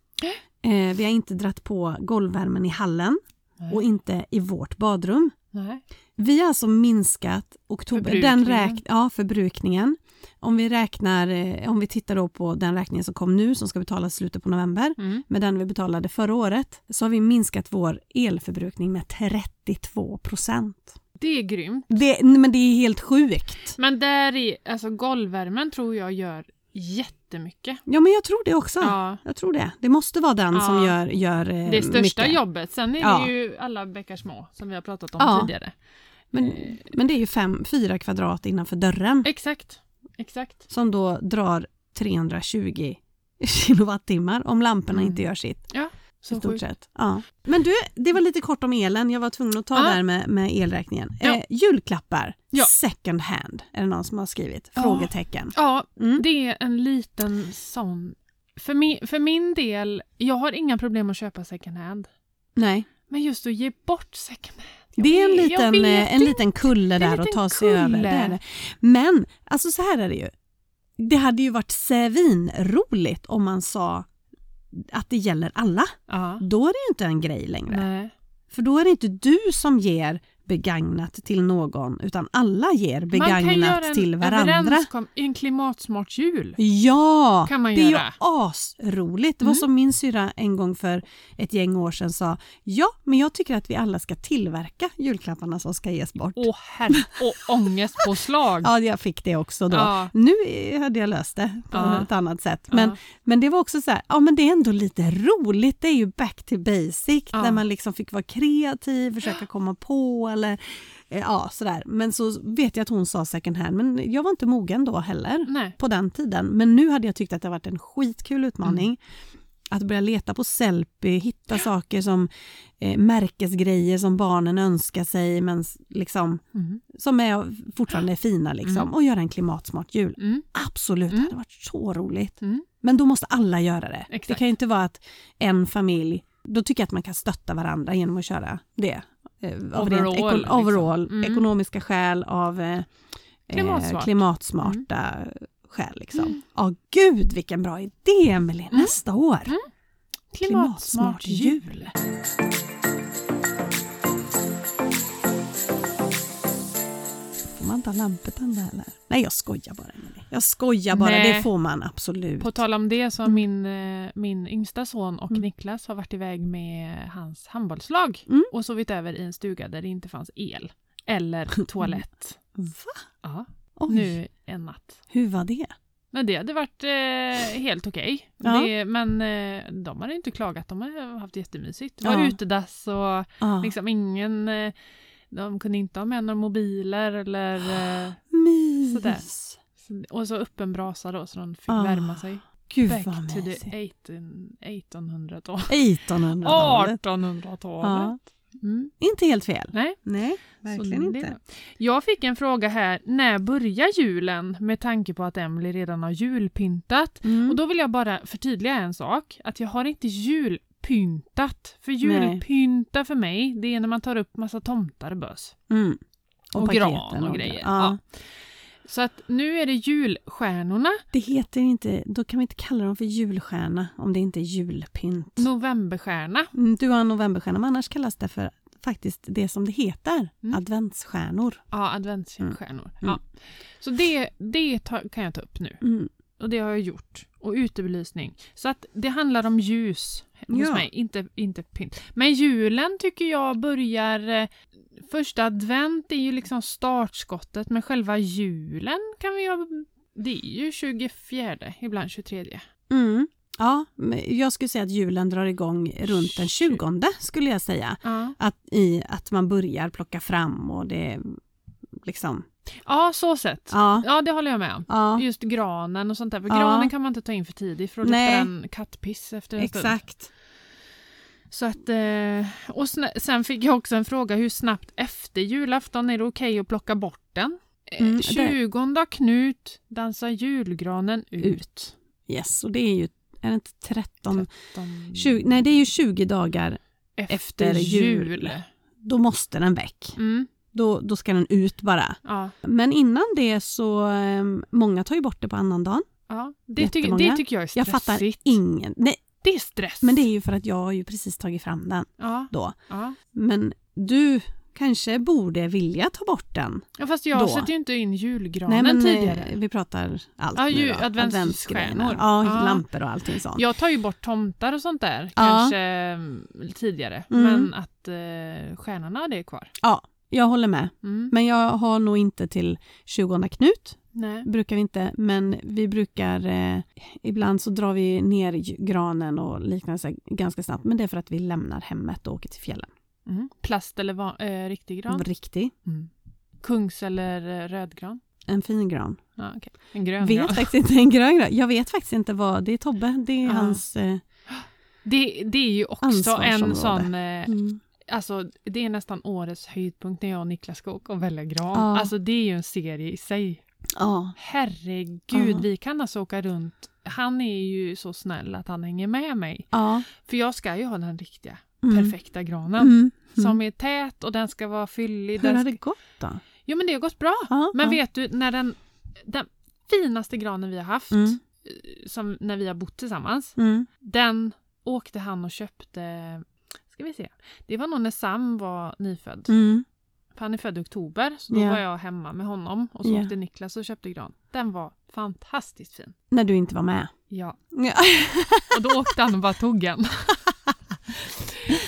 Speaker 1: Eh, vi har inte dratt på golvvärmen i hallen
Speaker 2: Nej.
Speaker 1: och inte i vårt badrum.
Speaker 2: Nej.
Speaker 1: Vi har alltså minskat oktober, den
Speaker 2: Förbrukningen.
Speaker 1: räk, ja, förbrukningen. Om vi, räknar, eh, om vi tittar då på den räkningen som kom nu som ska betalas i slutet på november
Speaker 2: Mm.
Speaker 1: med den vi betalade förra året så har vi minskat vår elförbrukning med 32 procent.
Speaker 2: Det är grymt.
Speaker 1: Det, nej, men det är helt sjukt.
Speaker 2: Men där i, alltså golvvärmen tror jag gör jättemycket.
Speaker 1: Ja, men jag tror det också.
Speaker 2: Ja.
Speaker 1: Jag tror det. Det måste vara den
Speaker 2: Ja.
Speaker 1: som gör, gör eh,
Speaker 2: Det största
Speaker 1: mycket.
Speaker 2: jobbet. Sen är
Speaker 1: Ja.
Speaker 2: det ju alla bäckar små som vi har pratat om
Speaker 1: Ja.
Speaker 2: tidigare.
Speaker 1: Men, men det är ju fem, fyra kvadrat innanför dörren
Speaker 2: Exakt. Exakt.
Speaker 1: som då drar 320 kilowattimmar om lamporna
Speaker 2: Mm.
Speaker 1: inte gör sitt.
Speaker 2: Så
Speaker 1: I stort
Speaker 2: sjukt.
Speaker 1: sett. Ja. Men du, det var lite kort om elen. Jag var tvungen att ta
Speaker 2: Ja.
Speaker 1: det här med, med elräkningen.
Speaker 2: Ja.
Speaker 1: Eh, julklappar,
Speaker 2: Ja.
Speaker 1: second hand, är det någon som har skrivit?
Speaker 2: Ja.
Speaker 1: Frågetecken.
Speaker 2: Ja,
Speaker 1: Mm.
Speaker 2: det är en liten sån. För min, för min del, jag har inga problem att köpa second hand.
Speaker 1: Nej,
Speaker 2: Men just att ge bort second hand. Jag
Speaker 1: det är en
Speaker 2: vet- jag
Speaker 1: liten,
Speaker 2: vet
Speaker 1: eh, en liten kulle
Speaker 2: Det är en
Speaker 1: där att
Speaker 2: liten
Speaker 1: ta sig över. Det är
Speaker 2: kulle.
Speaker 1: det. Men, alltså så här är det ju. Det hade ju varit roligt om man sa att det gäller alla.
Speaker 2: Ja.
Speaker 1: Då är det ju inte en grej längre.
Speaker 2: Nej.
Speaker 1: För då är det inte du som ger begagnat till någon utan alla ger
Speaker 2: man kan göra
Speaker 1: begagnat
Speaker 2: en
Speaker 1: till varandra.
Speaker 2: överenskom- en klimatsmart jul.
Speaker 1: Ja,
Speaker 2: Kan man
Speaker 1: det är ju
Speaker 2: göra.
Speaker 1: asroligt. Det var
Speaker 2: Mm.
Speaker 1: som min syra en gång för ett gäng år sedan sa. Ja, men jag tycker att vi alla ska tillverka julklapparna som ska ges bort.
Speaker 2: Åh herre, och ångestpåslag.
Speaker 1: Ja, jag fick det också då.
Speaker 2: Ja.
Speaker 1: Nu eh, hade jag löst det på
Speaker 2: Ja.
Speaker 1: ett annat sätt. Men,
Speaker 2: Ja.
Speaker 1: men det var också så här, ja men det är ändå lite roligt. Det är ju back to basic
Speaker 2: Ja.
Speaker 1: där man liksom fick vara kreativ, försöka komma på eller eh, ja sådär. Men så vet jag att hon sa second hand, men jag var inte mogen då heller
Speaker 2: Nej.
Speaker 1: på den tiden. Men nu hade jag tyckt att det varit en skitkul utmaning. Att börja leta på Sellpy, hitta saker som eh, märkesgrejer som barnen önskar sig men s- liksom
Speaker 2: Mm.
Speaker 1: som är, fortfarande är fina liksom,
Speaker 2: Mm.
Speaker 1: och göra en klimatsmart jul.
Speaker 2: Mm.
Speaker 1: Absolut, det
Speaker 2: Mm.
Speaker 1: hade varit så roligt.
Speaker 2: Mm.
Speaker 1: Men då måste alla göra det. Det
Speaker 2: Exakt.
Speaker 1: kan ju inte vara att en familj, då tycker jag att man kan stötta varandra genom att köra det. Eh, Av
Speaker 2: Overall,
Speaker 1: rent eko-
Speaker 2: liksom.
Speaker 1: overall
Speaker 2: Mm.
Speaker 1: ekonomiska skäl, av eh, eh,
Speaker 2: Klimatsmart. Mm.
Speaker 1: klimatsmarta skäl. Liksom. Ja, gud vilken bra idé Emelie,
Speaker 2: Mm.
Speaker 1: nästa år.
Speaker 2: Klimatsmart jul.
Speaker 1: Får man inte ha lampor tända heller? Nej, jag skojar bara Emelie. Jag skojar bara,
Speaker 2: Nej.
Speaker 1: det får man absolut.
Speaker 2: På tal om det
Speaker 1: Mm.
Speaker 2: så har min, eh, min yngsta son och Niklas har varit iväg med hans handbollslag
Speaker 1: Mm.
Speaker 2: och sovit över i en stuga där det inte fanns el eller toalett.
Speaker 1: Va?
Speaker 2: ja.
Speaker 1: Oj,
Speaker 2: Nu en natt.
Speaker 1: hur var det?
Speaker 2: Men det hade varit eh, helt okej.
Speaker 1: Ja.
Speaker 2: Det- Men eh, de hade inte klagat, de hade haft jättemysigt. Det var
Speaker 1: Ja.
Speaker 2: utedass och
Speaker 1: Ja.
Speaker 2: liksom ingen... Eh, de kunde inte ha med några mobiler eller... Eh,
Speaker 1: Mys.
Speaker 2: Sådär. och så öppen brasa då så de fick
Speaker 1: Ah.
Speaker 2: värma sig.
Speaker 1: Gud vad
Speaker 2: Back to the
Speaker 1: mysigt.
Speaker 2: 18- 1800-tal.
Speaker 1: 1800-talet.
Speaker 2: 1800-talet.
Speaker 1: Ja,
Speaker 2: Mm.
Speaker 1: inte helt fel.
Speaker 2: Nej,
Speaker 1: Nej,
Speaker 2: så det- Jag fick en fråga här. När börjar julen? Med tanke på att Emily redan har julpyntat.
Speaker 1: Mm.
Speaker 2: Och då vill jag bara förtydliga en sak. Att jag har inte julpyntat. För julpynta för mig, det är när man tar upp massa tomtar och bös.
Speaker 1: Mm.
Speaker 2: Och,
Speaker 1: paketen
Speaker 2: gran och grejer.
Speaker 1: Ja.
Speaker 2: Ja. Så att nu är det julstjärnorna,
Speaker 1: Det heter inte, då kan vi inte kalla dem för julstjärna om det inte är julpynt.
Speaker 2: novemberstjärna.
Speaker 1: Mm, Du har en novemberstjärna, men annars kallas det för faktiskt det som det heter,
Speaker 2: Mm.
Speaker 1: adventsstjärnor.
Speaker 2: Ja,
Speaker 1: Mm.
Speaker 2: adventsstjärnor. Ja. Så det, det ta- kan jag ta upp nu.
Speaker 1: Mm.
Speaker 2: Och det har jag gjort. Och utebelysning. Så att det handlar om ljus hos
Speaker 1: Ja.
Speaker 2: mig, inte, inte pynt. Men julen tycker jag börjar... eh, Första advent är ju liksom startskottet, men själva julen kan vi ha... Det är ju 24, ibland 23.
Speaker 1: Mm. Ja, men jag skulle säga att julen drar igång runt den 20 skulle jag säga.
Speaker 2: Ja,
Speaker 1: Att, i, att man börjar plocka fram och det liksom,
Speaker 2: ja så sett. Ja.
Speaker 1: ja.
Speaker 2: det håller jag med om.
Speaker 1: Ja,
Speaker 2: Just granen och sånt där. För
Speaker 1: Ja.
Speaker 2: granen kan man inte ta in för tidigt för då luktar
Speaker 1: Nej.
Speaker 2: den kattpiss efter en stund.
Speaker 1: exakt.
Speaker 2: Så att, eh, och sna- sen fick jag också en fråga hur snabbt efter julafton är det okej att plocka bort den?
Speaker 1: Mm,
Speaker 2: Mm,
Speaker 1: det-
Speaker 2: 20 Knut dansar julgranen ut.
Speaker 1: Yes, och det är ju, är det inte 13?
Speaker 2: De-
Speaker 1: 20, nej, det är ju 20 dagar. efter jul. Då måste den väck.
Speaker 2: Mm,
Speaker 1: Då, då ska den ut bara.
Speaker 2: ja,
Speaker 1: Men innan det så, ehm, många tar ju bort det på annandagen.
Speaker 2: ja. Det, tycker,
Speaker 1: Jättemånga.
Speaker 2: det tycker jag är
Speaker 1: Jag
Speaker 2: stressigt.
Speaker 1: fattar ingen, nej,
Speaker 2: Det är stress.
Speaker 1: men det är ju för att jag har ju precis tagit fram den
Speaker 2: ja,
Speaker 1: då.
Speaker 2: ja.
Speaker 1: Men du kanske borde vilja ta bort den
Speaker 2: ja, fast jag
Speaker 1: Då.
Speaker 2: sätter ju inte in julgranen
Speaker 1: Nej, men
Speaker 2: tidigare.
Speaker 1: eh, vi pratar allt
Speaker 2: Ja, ju-
Speaker 1: nu då.
Speaker 2: adventsstjärnor.
Speaker 1: Adventsgrejerna. Ja,
Speaker 2: Ja.
Speaker 1: lampor och allting sånt.
Speaker 2: Jag tar ju bort tomtar och sånt där, kanske eh, tidigare.
Speaker 1: Mm.
Speaker 2: Men att eh, stjärnorna det är kvar.
Speaker 1: Jag håller med.
Speaker 2: Mm.
Speaker 1: Men jag har nog inte till 20 Knut,
Speaker 2: Nej.
Speaker 1: brukar vi inte, men vi brukar eh, ibland så drar vi ner ju- granen och liknande så här ganska snabbt, men det är för att vi lämnar hemmet och åker till fjällen.
Speaker 2: Mm. Plast eller va- eh, riktig gran?
Speaker 1: Riktig,
Speaker 2: Kungs eller eh, rödgran?
Speaker 1: en fin gran.
Speaker 2: Ja, okej. En grön
Speaker 1: vet
Speaker 2: gran.
Speaker 1: faktiskt inte en grön gran. Jag vet faktiskt inte vad, det är Tobbe, det är
Speaker 2: Ja.
Speaker 1: hans... Eh,
Speaker 2: Det, det är ju också en
Speaker 1: Ansvarsområde.
Speaker 2: sån... Eh,
Speaker 1: mm.
Speaker 2: alltså, det är nästan årets höjdpunkt när jag och Niklas ska åka och välja gran.
Speaker 1: Ja.
Speaker 2: Alltså det är ju en serie i sig.
Speaker 1: Ja,
Speaker 2: Herregud,
Speaker 1: Ja.
Speaker 2: vi kan alltså åka runt. Han är ju så snäll att han hänger med mig.
Speaker 1: ja.
Speaker 2: För jag ska ju ha den riktiga,
Speaker 1: Mm.
Speaker 2: perfekta granen.
Speaker 1: Mm.
Speaker 2: Som är tät och den ska vara fyllig.
Speaker 1: Hur
Speaker 2: Den
Speaker 1: har
Speaker 2: ska...
Speaker 1: det gått då?
Speaker 2: Jo men det har gått bra.
Speaker 1: Ja,
Speaker 2: Men
Speaker 1: ja.
Speaker 2: vet du, när den, den finaste granen vi har haft, eh,
Speaker 1: Mm.
Speaker 2: som när vi har bott tillsammans,
Speaker 1: Mm.
Speaker 2: den åkte han och köpte, ska vi se, det var nog när Sam var nyfödd.
Speaker 1: Mm.
Speaker 2: För han är född i oktober, så då
Speaker 1: Ja.
Speaker 2: var jag hemma med honom och så
Speaker 1: Ja.
Speaker 2: åkte Niklas och köpte gran. Den var fantastiskt fin.
Speaker 1: När du inte var med.
Speaker 2: Ja,
Speaker 1: Ja.
Speaker 2: och då åkte han och bara tog den.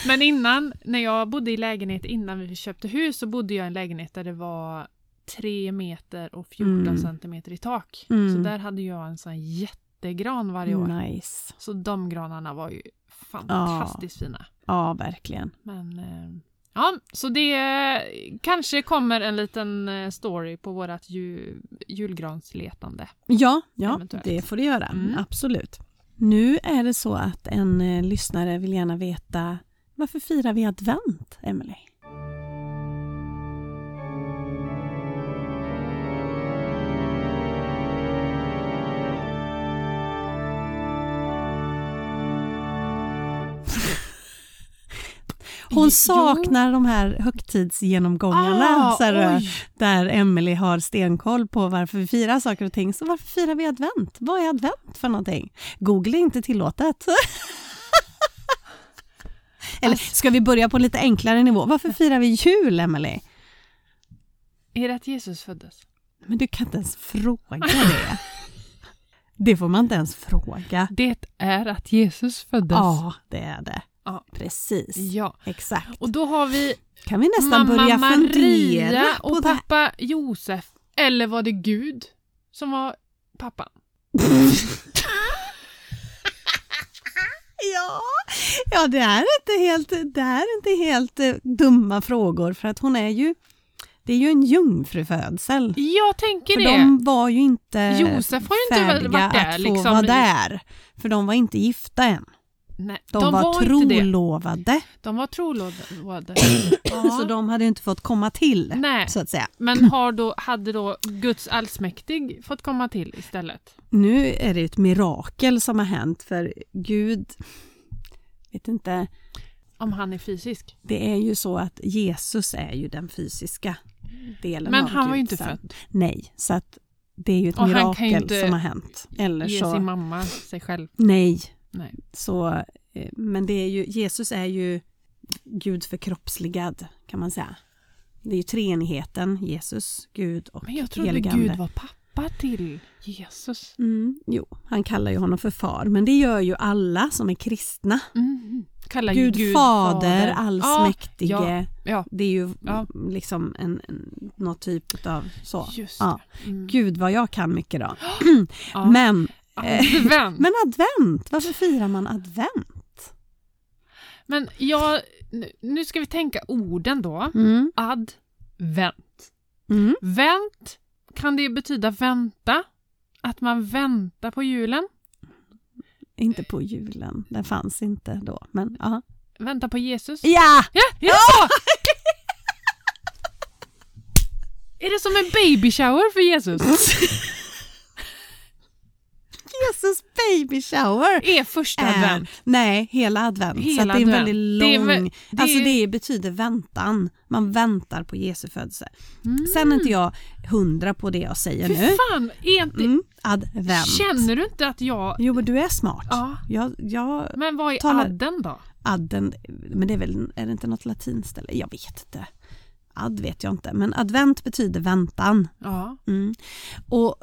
Speaker 2: Men innan, när jag bodde i lägenhet innan vi köpte hus så bodde jag i en lägenhet där det var 3 meter och 14
Speaker 1: Mm.
Speaker 2: centimeter i tak.
Speaker 1: Mm.
Speaker 2: Så där hade jag en sån jättegran varje år.
Speaker 1: Nice.
Speaker 2: Så de granarna var ju fantastiskt fina.
Speaker 1: Ja, verkligen.
Speaker 2: Men eh, ja, så det eh, kanske kommer en liten eh, story på vårat ju, julgransletande.
Speaker 1: Ja, ja
Speaker 2: Eventuellt.
Speaker 1: det får du göra.
Speaker 2: Mm.
Speaker 1: Absolut. Nu är det så att en eh, lyssnare vill gärna veta varför firar vi advent, Emily?
Speaker 2: Jo.
Speaker 1: Hon saknar de här högtidsgenomgångarna. så här,
Speaker 2: Ah, oj.
Speaker 1: där Emily har stenkoll på varför vi firar saker och ting. Så varför firar vi advent? Vad är advent för någonting? Google är inte tillåtet. Eller ska vi börja på en lite enklare nivå? Varför firar vi jul, Emily?
Speaker 2: Är det att Jesus föddes?
Speaker 1: Men du kan inte ens fråga det. Det får man inte ens fråga.
Speaker 2: Det är att Jesus föddes.
Speaker 1: Ja, det är det.
Speaker 2: Ja.
Speaker 1: Precis.
Speaker 2: Ja,
Speaker 1: Exakt.
Speaker 2: och då har vi
Speaker 1: Kan vi nästan
Speaker 2: mamma
Speaker 1: börja fundera
Speaker 2: Maria
Speaker 1: på
Speaker 2: och
Speaker 1: det här?
Speaker 2: pappa Josef. Eller var det Gud som var pappan?
Speaker 1: Ja, ja det, är inte helt, det är inte helt eh, dumma frågor för att hon är ju Det är ju en jungfrufödsel.
Speaker 2: Jag tänker
Speaker 1: För
Speaker 2: det.
Speaker 1: de var ju inte
Speaker 2: Josef har ju inte
Speaker 1: färdiga
Speaker 2: varit där,
Speaker 1: att få
Speaker 2: liksom.
Speaker 1: vara där. För de var inte gifta än.
Speaker 2: Nej,
Speaker 1: De, var,
Speaker 2: inte det.
Speaker 1: trolovade.
Speaker 2: De var trolovade.
Speaker 1: Så
Speaker 2: ja.
Speaker 1: de hade ju inte fått komma till,
Speaker 2: Nej.
Speaker 1: så att säga.
Speaker 2: Men har då, hade då Guds allsmäktig fått komma till istället?
Speaker 1: Nu är det ju ett mirakel som har hänt för Gud, vet inte,
Speaker 2: Om han är fysisk.
Speaker 1: det är ju så att Jesus är ju den fysiska delen
Speaker 2: Men
Speaker 1: av
Speaker 2: han var ju
Speaker 1: Gud
Speaker 2: inte
Speaker 1: sen.
Speaker 2: född.
Speaker 1: Nej, så att det är ju ett
Speaker 2: Och han kan ju
Speaker 1: mirakel
Speaker 2: inte
Speaker 1: som har hänt. Eller
Speaker 2: Ge
Speaker 1: så,
Speaker 2: sin mamma sig själv.
Speaker 1: nej.
Speaker 2: Nej.
Speaker 1: Så, eh, men det är ju, Jesus är ju Gud förkroppsligad kan man säga. Det är ju treenigheten, Jesus, Gud och
Speaker 2: Men jag trodde
Speaker 1: heligande.
Speaker 2: Gud var pappa till Jesus.
Speaker 1: Mm, jo, han kallar ju honom för far, men det gör ju alla som är kristna.
Speaker 2: Mm. Kallar ju
Speaker 1: Gud, fader, allsmäktige.
Speaker 2: Ja, ja,
Speaker 1: Det är ju
Speaker 2: Ja.
Speaker 1: liksom en, en, någon typ av så.
Speaker 2: ja. Just
Speaker 1: Ja.
Speaker 2: det. Mm.
Speaker 1: Gud vad jag kan mycket då.
Speaker 2: Ja.
Speaker 1: Men, eh,
Speaker 2: Advent.
Speaker 1: men advent, varför firar man advent?
Speaker 2: Men jag, nu- nu ska vi tänka orden då.
Speaker 1: Mm.
Speaker 2: Advent.
Speaker 1: Mm.
Speaker 2: Vänt, kan det betyda vänta? Att man väntar på julen?
Speaker 1: Inte på julen, den fanns inte då. Men, ja.
Speaker 2: Vänta på Jesus?
Speaker 1: ja!
Speaker 2: Ja! ja! Är det som en baby shower för Jesus?
Speaker 1: Mm. Jesus baby shower!
Speaker 2: Är första
Speaker 1: Är,
Speaker 2: advent?
Speaker 1: nej, hela advent. så
Speaker 2: Hela
Speaker 1: att det är en
Speaker 2: advent.
Speaker 1: väldigt lång...
Speaker 2: Det är vä- det
Speaker 1: alltså
Speaker 2: är-
Speaker 1: det betyder väntan. Man väntar på Jesu födelse. Sen är inte jag hundra på det jag säger
Speaker 2: Mm. Fy
Speaker 1: nu.
Speaker 2: fan, är inte...
Speaker 1: Mm, advent.
Speaker 2: Känner du inte att jag...
Speaker 1: Jo men du är smart.
Speaker 2: Ja.
Speaker 1: Jag, jag,
Speaker 2: Men vad är
Speaker 1: Tala-
Speaker 2: adden då?
Speaker 1: adden, men det är väl, är det inte något latinskt eller? Jag vet inte. Ad vet jag inte, men advent betyder väntan.
Speaker 2: Ja.
Speaker 1: Mm. Och,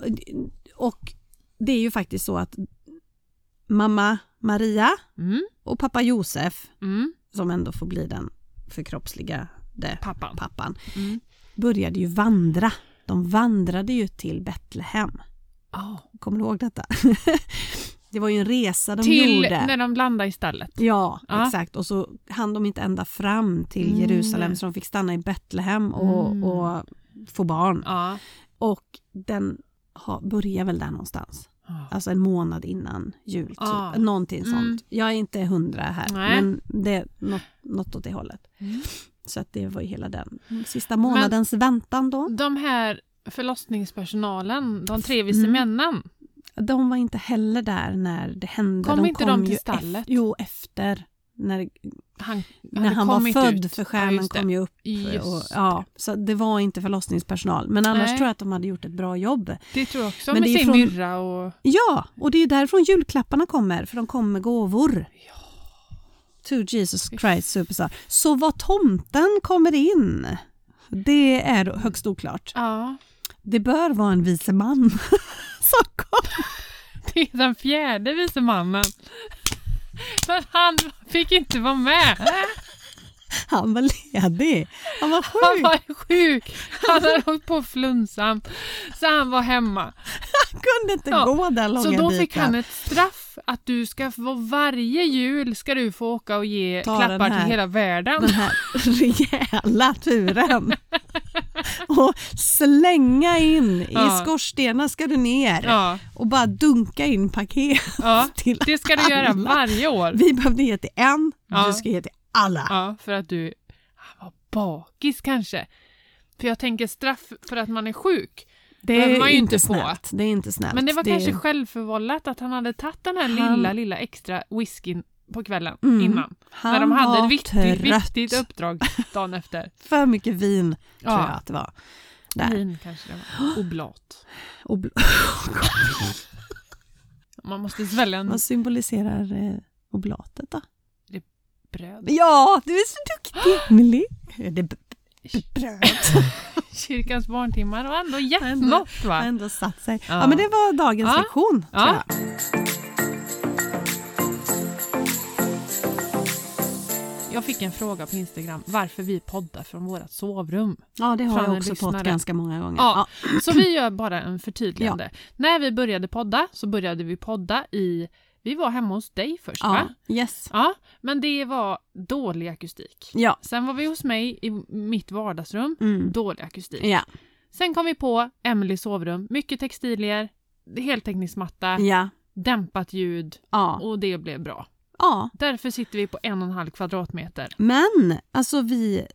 Speaker 1: och det är ju faktiskt så att mamma Maria
Speaker 2: Mm.
Speaker 1: och pappa Josef
Speaker 2: Mm.
Speaker 1: som ändå får bli den förkroppsligade
Speaker 2: Pappan.
Speaker 1: pappan,
Speaker 2: Mm.
Speaker 1: började ju vandra. De vandrade ju till Betlehem.
Speaker 2: Ja.
Speaker 1: Kommer du ihåg detta? det var ju en resa de
Speaker 2: Till
Speaker 1: gjorde.
Speaker 2: när de landar i stallet.
Speaker 1: Ja,
Speaker 2: Ja.
Speaker 1: exakt. Och så hann de inte ända fram till
Speaker 2: Mm.
Speaker 1: Jerusalem så de fick stanna i Betlehem och,
Speaker 2: Mm.
Speaker 1: och få barn.
Speaker 2: Ja.
Speaker 1: Och den har, börjar väl där någonstans. Alltså en månad innan jul, typ.
Speaker 2: Ah.
Speaker 1: någonting
Speaker 2: Mm.
Speaker 1: sånt. Jag är inte hundra här,
Speaker 2: Nej.
Speaker 1: men det är något, något åt det hållet.
Speaker 2: Mm.
Speaker 1: Så att det var ju hela den sista månadens väntan då.
Speaker 2: De här förlossningspersonalen, de tre vise
Speaker 1: Mm.
Speaker 2: männen.
Speaker 1: De var inte heller där när det hände.
Speaker 2: Kom inte de till
Speaker 1: ju
Speaker 2: stallet?
Speaker 1: Ef- jo, efter. När,
Speaker 2: Han,
Speaker 1: när han var
Speaker 2: kommit
Speaker 1: född,
Speaker 2: ut.
Speaker 1: för
Speaker 2: Ja,
Speaker 1: stjärnan
Speaker 2: just det.
Speaker 1: kom ju upp. Och,
Speaker 2: Just
Speaker 1: ja, så det var inte förlossningspersonal. Men annars
Speaker 2: Nej.
Speaker 1: tror jag att de hade gjort ett bra jobb.
Speaker 2: Det tror jag också,
Speaker 1: Men
Speaker 2: med
Speaker 1: det är
Speaker 2: sin
Speaker 1: från-
Speaker 2: myrra och...
Speaker 1: Ja, och det är ju därifrån julklapparna kommer, för de kommer med gåvor. To Jesus Christ Superstar. Så var tomten kommer in, det är högst oklart.
Speaker 2: Ja,
Speaker 1: Det bör vara en vise man som kom.
Speaker 2: det är den fjärde vise mannen. Men han fick inte vara med.
Speaker 1: Han var ledig, han var
Speaker 2: Han
Speaker 1: sjuk.
Speaker 2: var sjuk. Han hade åkt på flunsan. Så han var hemma.
Speaker 1: Han kunde inte
Speaker 2: Ja,
Speaker 1: gå den långa
Speaker 2: Så då fick
Speaker 1: biten.
Speaker 2: han ett straff att du ska få varje jul ska du få åka och ge
Speaker 1: Ta den
Speaker 2: klappar
Speaker 1: här.
Speaker 2: till hela världen.
Speaker 1: den här rejäla turen. Och slänga in,
Speaker 2: Ja.
Speaker 1: i skorstenar ska du ner
Speaker 2: Ja,
Speaker 1: och bara dunka in paket
Speaker 2: ja.
Speaker 1: till
Speaker 2: Det ska du göra
Speaker 1: alla.
Speaker 2: varje år.
Speaker 1: Vi behövde ge till en,
Speaker 2: Ja.
Speaker 1: du ska ge till alla.
Speaker 2: Ja, för att du... Han var bakis kanske. För jag tänker straff för att man är sjuk.
Speaker 1: Det
Speaker 2: behöver man ju inte få.
Speaker 1: snällt. Det är inte snällt.
Speaker 2: Men det var kanske självförvållat att han hade tagit den här
Speaker 1: Han-
Speaker 2: lilla, lilla extra whiskyn på kvällen
Speaker 1: Mm.
Speaker 2: innan.
Speaker 1: han
Speaker 2: när de hade
Speaker 1: var
Speaker 2: ett viktigt,
Speaker 1: trött.
Speaker 2: viktigt uppdrag dagen efter.
Speaker 1: För mycket vin tror jag
Speaker 2: Ja, Mm.
Speaker 1: att det var. Där.
Speaker 2: vin kanske det var. Oblat.
Speaker 1: Och bl-
Speaker 2: Mm. Man måste svälja en
Speaker 1: Vad symboliserar eh, oblatet då?
Speaker 2: bröd.
Speaker 1: Ja, du är så duktig! Millie. Det är b- b- bröd.
Speaker 2: Kyrkans barntimmar och ändå gett något
Speaker 1: har
Speaker 2: va?
Speaker 1: ändå satt sig. Ja.
Speaker 2: Ja.
Speaker 1: men det var dagens
Speaker 2: Ja.
Speaker 1: lektion.
Speaker 2: Ja.
Speaker 1: Tror jag.
Speaker 2: Jag fick en fråga på Instagram varför vi poddar från vårt sovrum.
Speaker 1: ja, det har
Speaker 2: Från
Speaker 1: jag
Speaker 2: en
Speaker 1: också
Speaker 2: lyssnare.
Speaker 1: fått ganska många gånger.
Speaker 2: Ja, så vi gör bara en förtydligande. När vi började podda så började vi podda i Vi var hemma hos dig först
Speaker 1: Ja,
Speaker 2: va?
Speaker 1: yes.
Speaker 2: Ja, men det var dålig akustik.
Speaker 1: Ja.
Speaker 2: Sen var vi hos mig i mitt vardagsrum,
Speaker 1: Mm.
Speaker 2: dålig akustik.
Speaker 1: Ja,
Speaker 2: Sen kom vi på Emelies sovrum, mycket textilier, heltäckningsmatta,
Speaker 1: ja,
Speaker 2: dämpat ljud
Speaker 1: ja,
Speaker 2: och det blev bra.
Speaker 1: ja.
Speaker 2: Därför sitter vi på en och en halv kvadratmeter.
Speaker 1: Men alltså vi,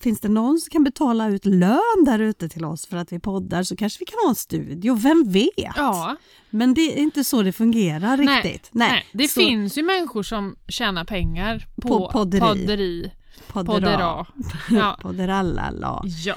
Speaker 1: finns det någon som kan betala ut lön där ute till oss för att vi poddar så kanske vi kan ha en studio, vem vet?
Speaker 2: Ja,
Speaker 1: Men det är inte så det fungerar
Speaker 2: Nej,
Speaker 1: riktigt.
Speaker 2: nej. det
Speaker 1: så
Speaker 2: finns ju människor som tjänar pengar på,
Speaker 1: På podderi.
Speaker 2: podderi,
Speaker 1: poddera,
Speaker 2: poddera. Ja.
Speaker 1: podderallala.
Speaker 2: ja.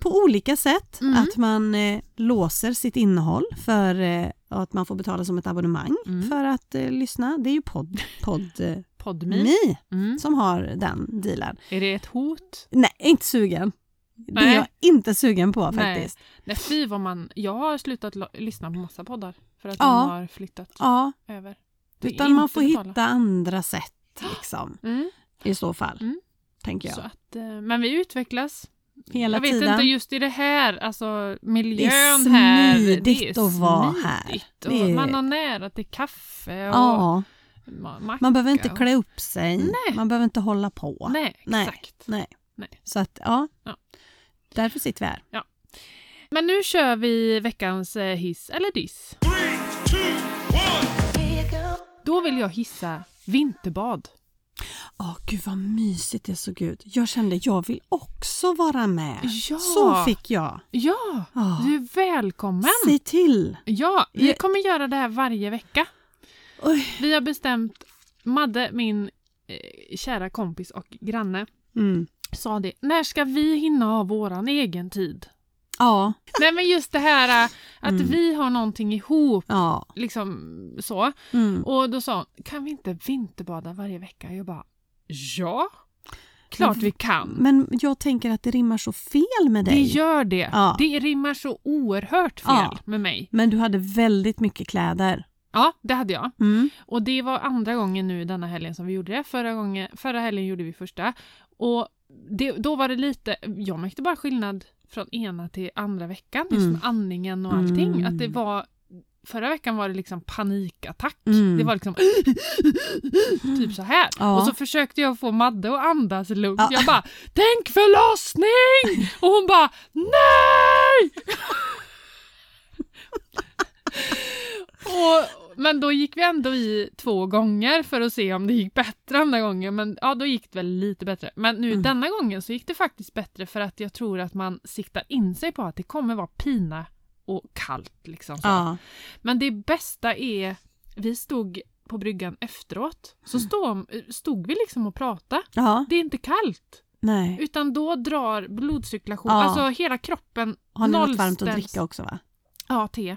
Speaker 1: På olika sätt,
Speaker 2: Mm.
Speaker 1: att man eh, låser sitt innehåll för eh, att man får betala som ett abonnemang
Speaker 2: Mm.
Speaker 1: för att eh, lyssna. Det är ju podd, podd, eh,
Speaker 2: Podmi.
Speaker 1: Me
Speaker 2: Mm.
Speaker 1: som har den dealen.
Speaker 2: Är det ett hot?
Speaker 1: Nej, inte sugen. Det
Speaker 2: Nej.
Speaker 1: är jag inte sugen på
Speaker 2: Nej.
Speaker 1: faktiskt.
Speaker 2: Nej, fy vad man... Jag har slutat lo- lyssna på massa poddar för att
Speaker 1: Ja.
Speaker 2: de har flyttat
Speaker 1: Ja,
Speaker 2: över. Det är
Speaker 1: Utan man
Speaker 2: inte
Speaker 1: får
Speaker 2: betala.
Speaker 1: hitta andra sätt liksom,
Speaker 2: Mm.
Speaker 1: i så fall.
Speaker 2: Mm.
Speaker 1: Tänker
Speaker 2: Så
Speaker 1: jag.
Speaker 2: att, eh, men vi utvecklas.
Speaker 1: Hela
Speaker 2: jag vet
Speaker 1: tiden.
Speaker 2: inte, just i det här, alltså miljön
Speaker 1: Det är
Speaker 2: här.
Speaker 1: smidigt att vara här.
Speaker 2: smidigt Och
Speaker 1: Det är-
Speaker 2: Man har nära till kaffe och
Speaker 1: ja,
Speaker 2: ma- macka.
Speaker 1: man behöver inte
Speaker 2: och-
Speaker 1: klä upp sig.
Speaker 2: Nej.
Speaker 1: Man behöver inte hålla på.
Speaker 2: Nej,
Speaker 1: Nej.
Speaker 2: exakt.
Speaker 1: Nej.
Speaker 2: Nej.
Speaker 1: Så att, ja.
Speaker 2: Ja.
Speaker 1: Därför sitter vi här.
Speaker 2: Men nu kör vi veckans eh, hiss eller diss. Då vill jag hissa vinterbad.
Speaker 1: Åh, gud vad mysigt det såg ut. Jag kände, jag vill också vara med.
Speaker 2: Ja.
Speaker 1: Så fick jag.
Speaker 2: Ja,
Speaker 1: Ja.
Speaker 2: du är välkommen.
Speaker 1: Säg till.
Speaker 2: Ja, vi
Speaker 1: Jag-
Speaker 2: kommer göra det här varje vecka.
Speaker 1: Oj.
Speaker 2: Vi har bestämt, Madde, min eh, kära kompis och granne,
Speaker 1: Mm.
Speaker 2: sa det. När ska vi hinna ha våran egen tid?
Speaker 1: Ja,
Speaker 2: Nej men just det här eh, att
Speaker 1: Mm.
Speaker 2: vi har någonting ihop,
Speaker 1: ja.
Speaker 2: liksom så.
Speaker 1: Mm.
Speaker 2: Och då sa hon, kan vi inte vinterbada varje vecka? Jag bara, ja, klart vi kan.
Speaker 1: Men jag tänker att det rimmar så fel med dig.
Speaker 2: Det gör det.
Speaker 1: Ja.
Speaker 2: Det rimmar så oerhört fel
Speaker 1: Ja.
Speaker 2: med mig.
Speaker 1: Men du hade väldigt mycket kläder.
Speaker 2: Ja, det hade jag.
Speaker 1: Mm.
Speaker 2: Och det var andra gången nu denna helgen som vi gjorde det. Förra, gången, förra helgen gjorde vi första. Och det, då var det lite, jag märkte bara skillnad från ena till andra veckan. Just
Speaker 1: Mm.
Speaker 2: med andningen och allting.
Speaker 1: Mm.
Speaker 2: Att det var, förra veckan var det liksom panikattack.
Speaker 1: Mm.
Speaker 2: Det var liksom typ så här.
Speaker 1: Ja.
Speaker 2: Och så försökte jag få Madde att andas lugnt.
Speaker 1: Ja.
Speaker 2: Jag bara, tänk förlossning! Och hon bara, nej! Och, men då gick vi ändå i två gånger för att se om det gick bättre andra gången. Men ja, då gick det väl lite bättre. Men nu
Speaker 1: Mm.
Speaker 2: denna gången så gick det faktiskt bättre för att jag tror att man siktar in sig på att det kommer vara pina och kallt liksom. Så.
Speaker 1: Ja.
Speaker 2: Men det bästa är, vi stod på bryggan efteråt, så
Speaker 1: Mm.
Speaker 2: stå, stod vi liksom och pratade.
Speaker 1: ja.
Speaker 2: Det är inte kallt,
Speaker 1: Nej.
Speaker 2: utan då drar blodcirkulation,
Speaker 1: Ja.
Speaker 2: alltså hela kroppen
Speaker 1: Har ni något
Speaker 2: nollställs-
Speaker 1: varmt att dricka också va?
Speaker 2: Ja, te.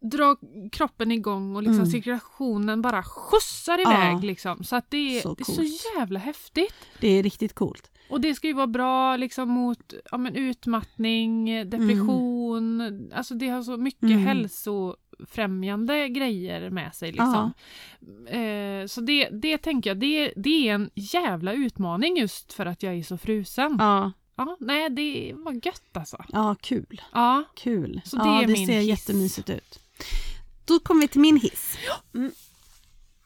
Speaker 2: Drar kroppen igång och liksom
Speaker 1: Mm.
Speaker 2: cirkulationen bara skjutsar iväg liksom. Så att det är
Speaker 1: Så
Speaker 2: det är så,
Speaker 1: coolt.
Speaker 2: jävla häftigt.
Speaker 1: Det är riktigt coolt.
Speaker 2: Och det ska ju vara bra liksom mot ja, men utmattning, depression, alltså det har så mycket
Speaker 1: Mm.
Speaker 2: hälsofrämjande grejer med sig liksom. Eh, så det, det tänker jag, det, det är en jävla utmaning just för att jag är så frusen. Ja.
Speaker 1: Ja.
Speaker 2: nej det var gött alltså.
Speaker 1: Ja, kul.
Speaker 2: Ja,
Speaker 1: Kul.
Speaker 2: Så det
Speaker 1: ja,
Speaker 2: är
Speaker 1: det
Speaker 2: min
Speaker 1: ser
Speaker 2: hiss.
Speaker 1: jättemysigt ut. Då kommer vi till min hiss. Mm.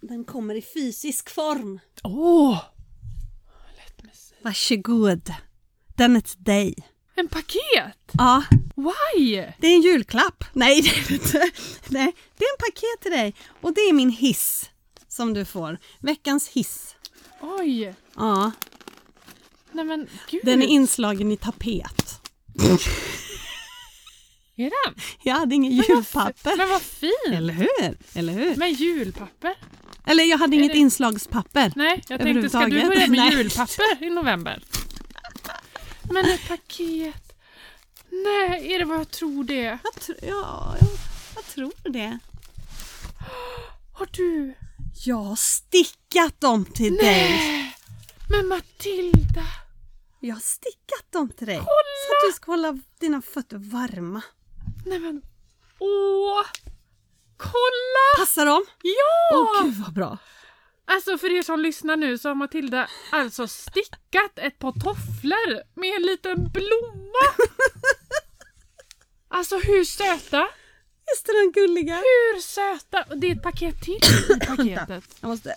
Speaker 1: Den kommer i fysisk form.
Speaker 2: åh! Lätt med sig.
Speaker 1: Varsågod. Den är till dig.
Speaker 2: En paket!
Speaker 1: Ja,
Speaker 2: Why?
Speaker 1: det är en julklapp. Nej, det är det inte. Nej, det är en paket till dig. Och det är min hiss som du får. Veckans hiss.
Speaker 2: Oj!
Speaker 1: Ja,
Speaker 2: Nej men gud.
Speaker 1: den är inslagen i tapet.
Speaker 2: Är den?
Speaker 1: Jag hade inget julpapper.
Speaker 2: Men vad fin!
Speaker 1: Eller hur? Eller hur?
Speaker 2: Med julpapper.
Speaker 1: Eller jag hade inget
Speaker 2: det-
Speaker 1: inslagspapper.
Speaker 2: Nej, jag tänkte ska du
Speaker 1: Överhuvudtaget?
Speaker 2: börja med
Speaker 1: Nej.
Speaker 2: julpapper i november? Men ett paket. Nej, är det vad jag tror det är?
Speaker 1: Jag tr- ja, jag, jag tror det.
Speaker 2: Har du?
Speaker 1: Jag har stickat dem till dig.
Speaker 2: Men Matilda!
Speaker 1: Jag har stickat dem till dig. Så att du ska hålla dina fötter varma.
Speaker 2: Nej men, åh! Kolla!
Speaker 1: Passar dem?
Speaker 2: Ja!
Speaker 1: Åh gud vad bra.
Speaker 2: Alltså för er som lyssnar nu så har Matilda alltså stickat ett par tofflor med en liten blomma. Alltså hur söta?
Speaker 1: Visst är de gulliga?
Speaker 2: Hur söta! Och det är ett paket till i paketet.
Speaker 1: Jag måste...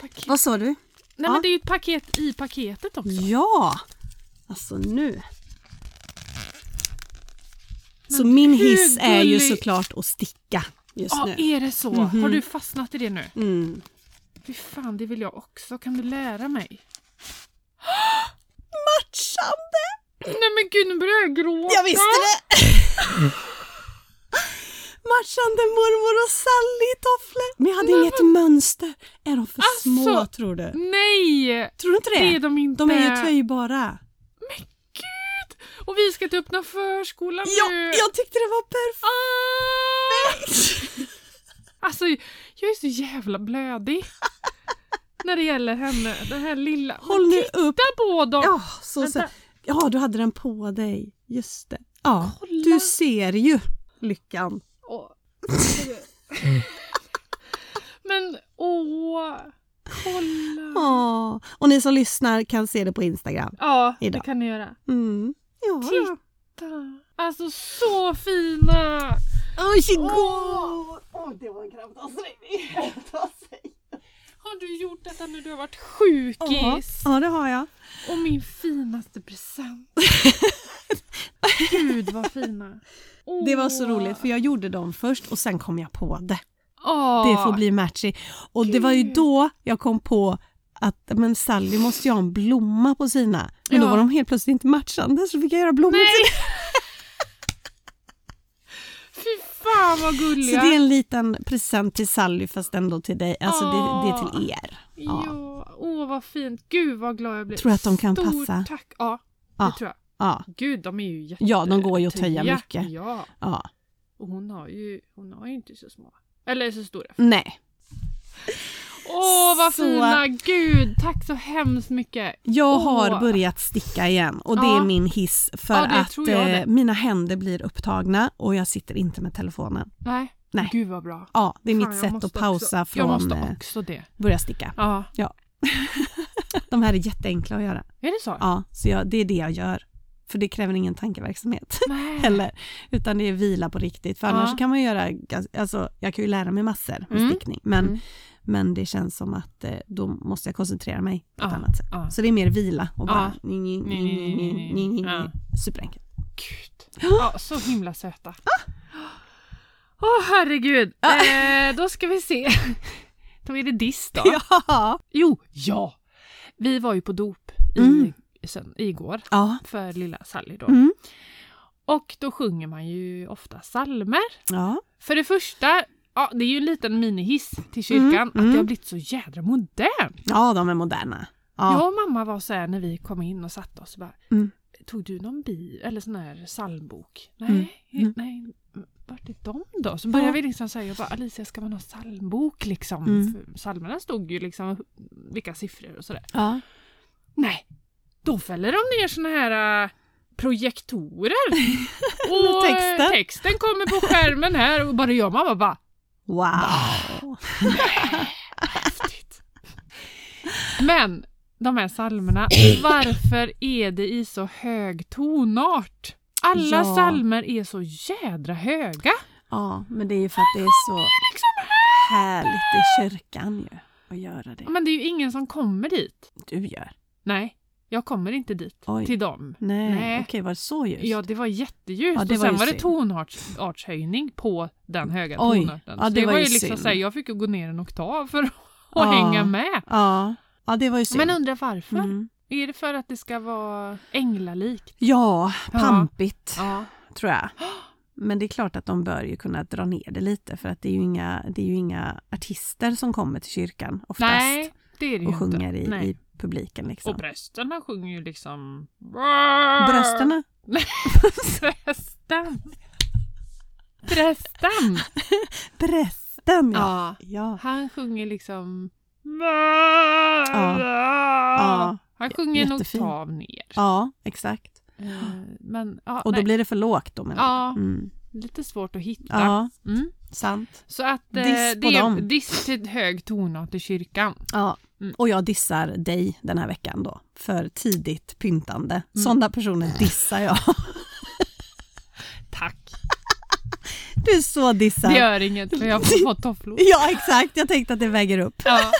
Speaker 2: paket.
Speaker 1: Vad sa du?
Speaker 2: Nej
Speaker 1: Ja.
Speaker 2: men det är ju ett paket i paketet också.
Speaker 1: Ja! Alltså nu. Så
Speaker 2: Men
Speaker 1: min
Speaker 2: hur
Speaker 1: hiss är ju
Speaker 2: gullig-
Speaker 1: såklart att sticka just
Speaker 2: Ja,
Speaker 1: nu.
Speaker 2: är det så? Har du fastnat i det nu?
Speaker 1: Mm.
Speaker 2: Fy fan, det vill jag också. Kan du lära mig?
Speaker 1: Matchande!
Speaker 2: Nej men gud, nu börjar jag gråta.
Speaker 1: Jag visste det! Matchande mormor och Sally i tofflor. Men jag hade inget mönster. Är de för
Speaker 2: Alltså,
Speaker 1: små tror du?
Speaker 2: Nej!
Speaker 1: Tror du inte det?
Speaker 2: Det är de inte.
Speaker 1: De är ju töjbara.
Speaker 2: Gud! Och vi ska till öppna förskolan
Speaker 1: Ja,
Speaker 2: nu.
Speaker 1: jag tyckte det var perfekt!
Speaker 2: Ah! Alltså, jag är så jävla blödig. När det gäller henne, den här lilla. Men
Speaker 1: Håll nu
Speaker 2: titta
Speaker 1: upp!
Speaker 2: på dem!
Speaker 1: Ja, så, så.
Speaker 2: Vänta.
Speaker 1: ja, du hade den på dig. Just det. Ja,
Speaker 2: Kolla. Mm.
Speaker 1: du ser ju lyckan.
Speaker 2: Åh. Men åh, kolla.
Speaker 1: Ja, och ni som lyssnar kan se det på Instagram.
Speaker 2: Ja, det
Speaker 1: Idag.
Speaker 2: kan ni göra.
Speaker 1: Mm. Ja,
Speaker 2: Titta. Alltså så fina!
Speaker 1: Varsågod!
Speaker 2: Åh.
Speaker 1: Åh, det var en krampavsträngning. Ta sig.
Speaker 2: Har du gjort detta när du har varit sjukis?
Speaker 1: Ja, det har jag.
Speaker 2: Och min finaste present. Gud vad fina.
Speaker 1: Det var så
Speaker 2: Åh.
Speaker 1: roligt för jag gjorde dem först och sen kom jag på det.
Speaker 2: Åh.
Speaker 1: Det får bli matchy. Och det var ju
Speaker 2: Gud.
Speaker 1: då jag kom på att men Sally måste ju ha en blomma på sina. Men
Speaker 2: Ja.
Speaker 1: då var de helt plötsligt inte matchande så fick jag göra blommor
Speaker 2: Nej!
Speaker 1: till
Speaker 2: Fy fan vad
Speaker 1: Så
Speaker 2: gulliga.
Speaker 1: det är en liten present till Sally fast ändå till dig. Alltså det, det är
Speaker 2: Ah.
Speaker 1: till er.
Speaker 2: Ja. Åh vad fint. Gud vad glad jag blev.
Speaker 1: Tror du att de kan
Speaker 2: Stort
Speaker 1: passa?
Speaker 2: tack. Ja,
Speaker 1: Ja.
Speaker 2: det tror jag.
Speaker 1: Ja,
Speaker 2: Gud, de är ju jätte...
Speaker 1: ja de går ju att töja
Speaker 2: Tia.
Speaker 1: mycket.
Speaker 2: Ja,
Speaker 1: Ja.
Speaker 2: och hon har ju, hon har ju inte så små. Eller så stora.
Speaker 1: Nej.
Speaker 2: Åh vad
Speaker 1: Så-
Speaker 2: fina! Gud, tack så hemskt mycket.
Speaker 1: Jag
Speaker 2: Åh.
Speaker 1: har börjat sticka igen och det
Speaker 2: Ja.
Speaker 1: är min hiss för
Speaker 2: Ja, det
Speaker 1: att
Speaker 2: tror jag det.
Speaker 1: eh, mina händer blir upptagna och jag sitter inte med telefonen.
Speaker 2: Nej.
Speaker 1: Nej.
Speaker 2: Gud vad bra.
Speaker 1: Ja, det är
Speaker 2: Fan,
Speaker 1: mitt
Speaker 2: jag
Speaker 1: sätt
Speaker 2: måste
Speaker 1: att pausa
Speaker 2: också, Jag
Speaker 1: från
Speaker 2: måste
Speaker 1: eh,
Speaker 2: också det.
Speaker 1: börja sticka.
Speaker 2: Ja.
Speaker 1: De här är jätteenkla att göra.
Speaker 2: Är det så?
Speaker 1: Ja, så jag, det är det jag gör. För det kräver ingen tankeverksamhet
Speaker 2: Nej.
Speaker 1: heller. Utan det är vila på riktigt. För
Speaker 2: Ja.
Speaker 1: annars kan man göra, gans- alltså jag kan ju lära mig massor med
Speaker 2: Mm.
Speaker 1: stickning. Men,
Speaker 2: Mm.
Speaker 1: men det känns som att eh, då måste jag koncentrera mig på ett
Speaker 2: Ja,
Speaker 1: annat sätt.
Speaker 2: ja.
Speaker 1: Så det är mer vila och
Speaker 2: Ja.
Speaker 1: bara... ni- ni- ni- ni- ni- ni- ni- ni-
Speaker 2: Ja.
Speaker 1: Superenkelt.
Speaker 2: Gud. Ja, så himla söta.
Speaker 1: Ah!
Speaker 2: Åh herregud. Eh, då ska vi se. Då är det diss då.
Speaker 1: Ja.
Speaker 2: Jo, ja. Vi var ju på dop i,
Speaker 1: Mm.
Speaker 2: sen, igår
Speaker 1: Ja.
Speaker 2: för lilla Sally då.
Speaker 1: Mm.
Speaker 2: Och då sjunger man ju ofta salmer.
Speaker 1: ja.
Speaker 2: För det första, ja, det är ju en liten minihiss till kyrkan,
Speaker 1: Mm,
Speaker 2: att
Speaker 1: mm.
Speaker 2: det har blivit så jädra modernt.
Speaker 1: Ja, de är moderna. Ja.
Speaker 2: Jag och mamma var så här när vi kom in och satte oss bara,
Speaker 1: Mm.
Speaker 2: tog du någon bi eller sån här psalmbok? Nej,
Speaker 1: Mm, mm.
Speaker 2: nej. Vart är de då? Så började
Speaker 1: Ja.
Speaker 2: vi liksom säga, jag bara Alicia ska man ha psalmbok liksom?
Speaker 1: Mm.
Speaker 2: För psalmerna stod ju liksom vilka siffror och sådär.
Speaker 1: Ja.
Speaker 2: Nej, då fäller de ner såna här äh, projektorer. och äh,
Speaker 1: texten.
Speaker 2: texten kommer på skärmen här och bara jag och mamma bara
Speaker 1: Wow.
Speaker 2: häftigt. Men de här psalmerna, varför är det i så hög tonart? Alla
Speaker 1: Ja.
Speaker 2: psalmer är så jädra höga.
Speaker 1: Ja, men det är ju för att det är så härligt i kyrkan ju att göra det.
Speaker 2: Men det är ju ingen som kommer dit.
Speaker 1: Du gör.
Speaker 2: Nej, jag kommer inte dit
Speaker 1: Oj.
Speaker 2: till dem.
Speaker 1: Nej,
Speaker 2: Nej.
Speaker 1: okej var det så just?
Speaker 2: Ja, det var jätteljust
Speaker 1: Ja, det
Speaker 2: och
Speaker 1: var
Speaker 2: sen
Speaker 1: ju
Speaker 2: var det
Speaker 1: synd. Mm.
Speaker 2: tonartshöjning på den höga
Speaker 1: Oj.
Speaker 2: tonarten.
Speaker 1: Ja,
Speaker 2: Så
Speaker 1: det
Speaker 2: det
Speaker 1: var
Speaker 2: var ju
Speaker 1: ju
Speaker 2: liksom
Speaker 1: synd.
Speaker 2: så här, jag fick ju gå ner en oktav för att
Speaker 1: Ja.
Speaker 2: hänga med.
Speaker 1: ja. ja det var ju synd.
Speaker 2: Men undrar varför?
Speaker 1: Mm.
Speaker 2: Är det för att det ska vara änglalikt?
Speaker 1: Ja,
Speaker 2: Ja.
Speaker 1: pampigt
Speaker 2: Ja.
Speaker 1: tror jag. Men det är klart att de bör ju kunna dra ner det lite för att det är ju inga, det är ju inga artister som kommer till kyrkan oftast
Speaker 2: Nej, det är det ju
Speaker 1: och sjunger
Speaker 2: inte.
Speaker 1: i,
Speaker 2: Nej.
Speaker 1: i publiken. Liksom.
Speaker 2: Och brösterna sjunger ju liksom...
Speaker 1: Brösterna?
Speaker 2: Brösten! Brösten!
Speaker 1: Brösten ja.
Speaker 2: Ja.
Speaker 1: ja.
Speaker 2: Han sjunger liksom...
Speaker 1: Ja.
Speaker 2: Han sjunger en
Speaker 1: Jättefin.
Speaker 2: oktav ner.
Speaker 1: Ja, exakt.
Speaker 2: Eh, Men, ja,
Speaker 1: Och då
Speaker 2: nej.
Speaker 1: blir det för lågt då menar
Speaker 2: Ja,
Speaker 1: jag. Mm.
Speaker 2: lite svårt att hitta.
Speaker 1: Ja,
Speaker 2: Mm.
Speaker 1: sant.
Speaker 2: Så att eh,
Speaker 1: Diss på
Speaker 2: det är
Speaker 1: dem.
Speaker 2: diss till hög tonart i kyrkan.
Speaker 1: Ja.
Speaker 2: Mm.
Speaker 1: Och jag dissar dig den här
Speaker 2: Mm.
Speaker 1: veckan då för tidigt pyntande. Sådana personer dissar jag.
Speaker 2: tack.
Speaker 1: Du är så dissad.
Speaker 2: Det gör inget för jag får tofflor.
Speaker 1: Ja, exakt. Jag tänkte att det väger upp.
Speaker 2: Ja.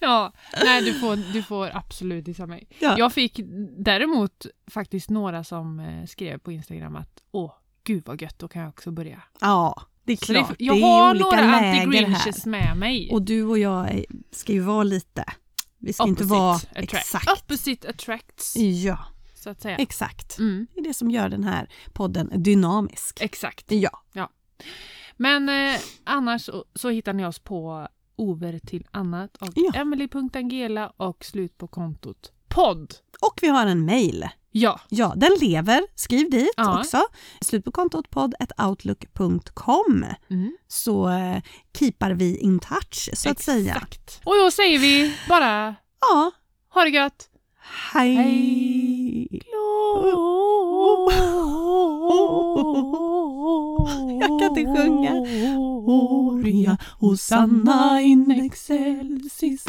Speaker 2: Ja, nej du får, du får absolut dissa mig.
Speaker 1: Ja.
Speaker 2: Jag fick däremot faktiskt några som eh, skrev på Instagram att åh, gud vad gött, då kan jag också börja.
Speaker 1: Ja, det är
Speaker 2: Så det,
Speaker 1: klart.
Speaker 2: jag
Speaker 1: det är
Speaker 2: har
Speaker 1: olika
Speaker 2: några
Speaker 1: läger här.
Speaker 2: anti-grinches med mig.
Speaker 1: Och du och jag är- ska ju vara lite... Vi ska inte vara... Exakt.
Speaker 2: Opposite attracts,
Speaker 1: Ja,
Speaker 2: så att säga.
Speaker 1: exakt.
Speaker 2: Mm,
Speaker 1: Det är det som gör den här podden dynamisk.
Speaker 2: exakt.
Speaker 1: Ja.
Speaker 2: Men eh, annars så, så hittar ni oss på Over till annat och
Speaker 1: Ja.
Speaker 2: Emily.angela och slut på kontot podd.
Speaker 1: Och vi har en mail.
Speaker 2: Ja,
Speaker 1: Ja, den lever. Skriv dit
Speaker 2: Ja.
Speaker 1: också. Slut på kontot podd.outlook.com
Speaker 2: Mm.
Speaker 1: så eh, keepar vi in touch så att säga.
Speaker 2: exakt. Och då säger vi bara
Speaker 1: Ja,
Speaker 2: ha det gött.
Speaker 1: hej! Jag kan inte sjunga. Gloria, Hosanna in excelsis.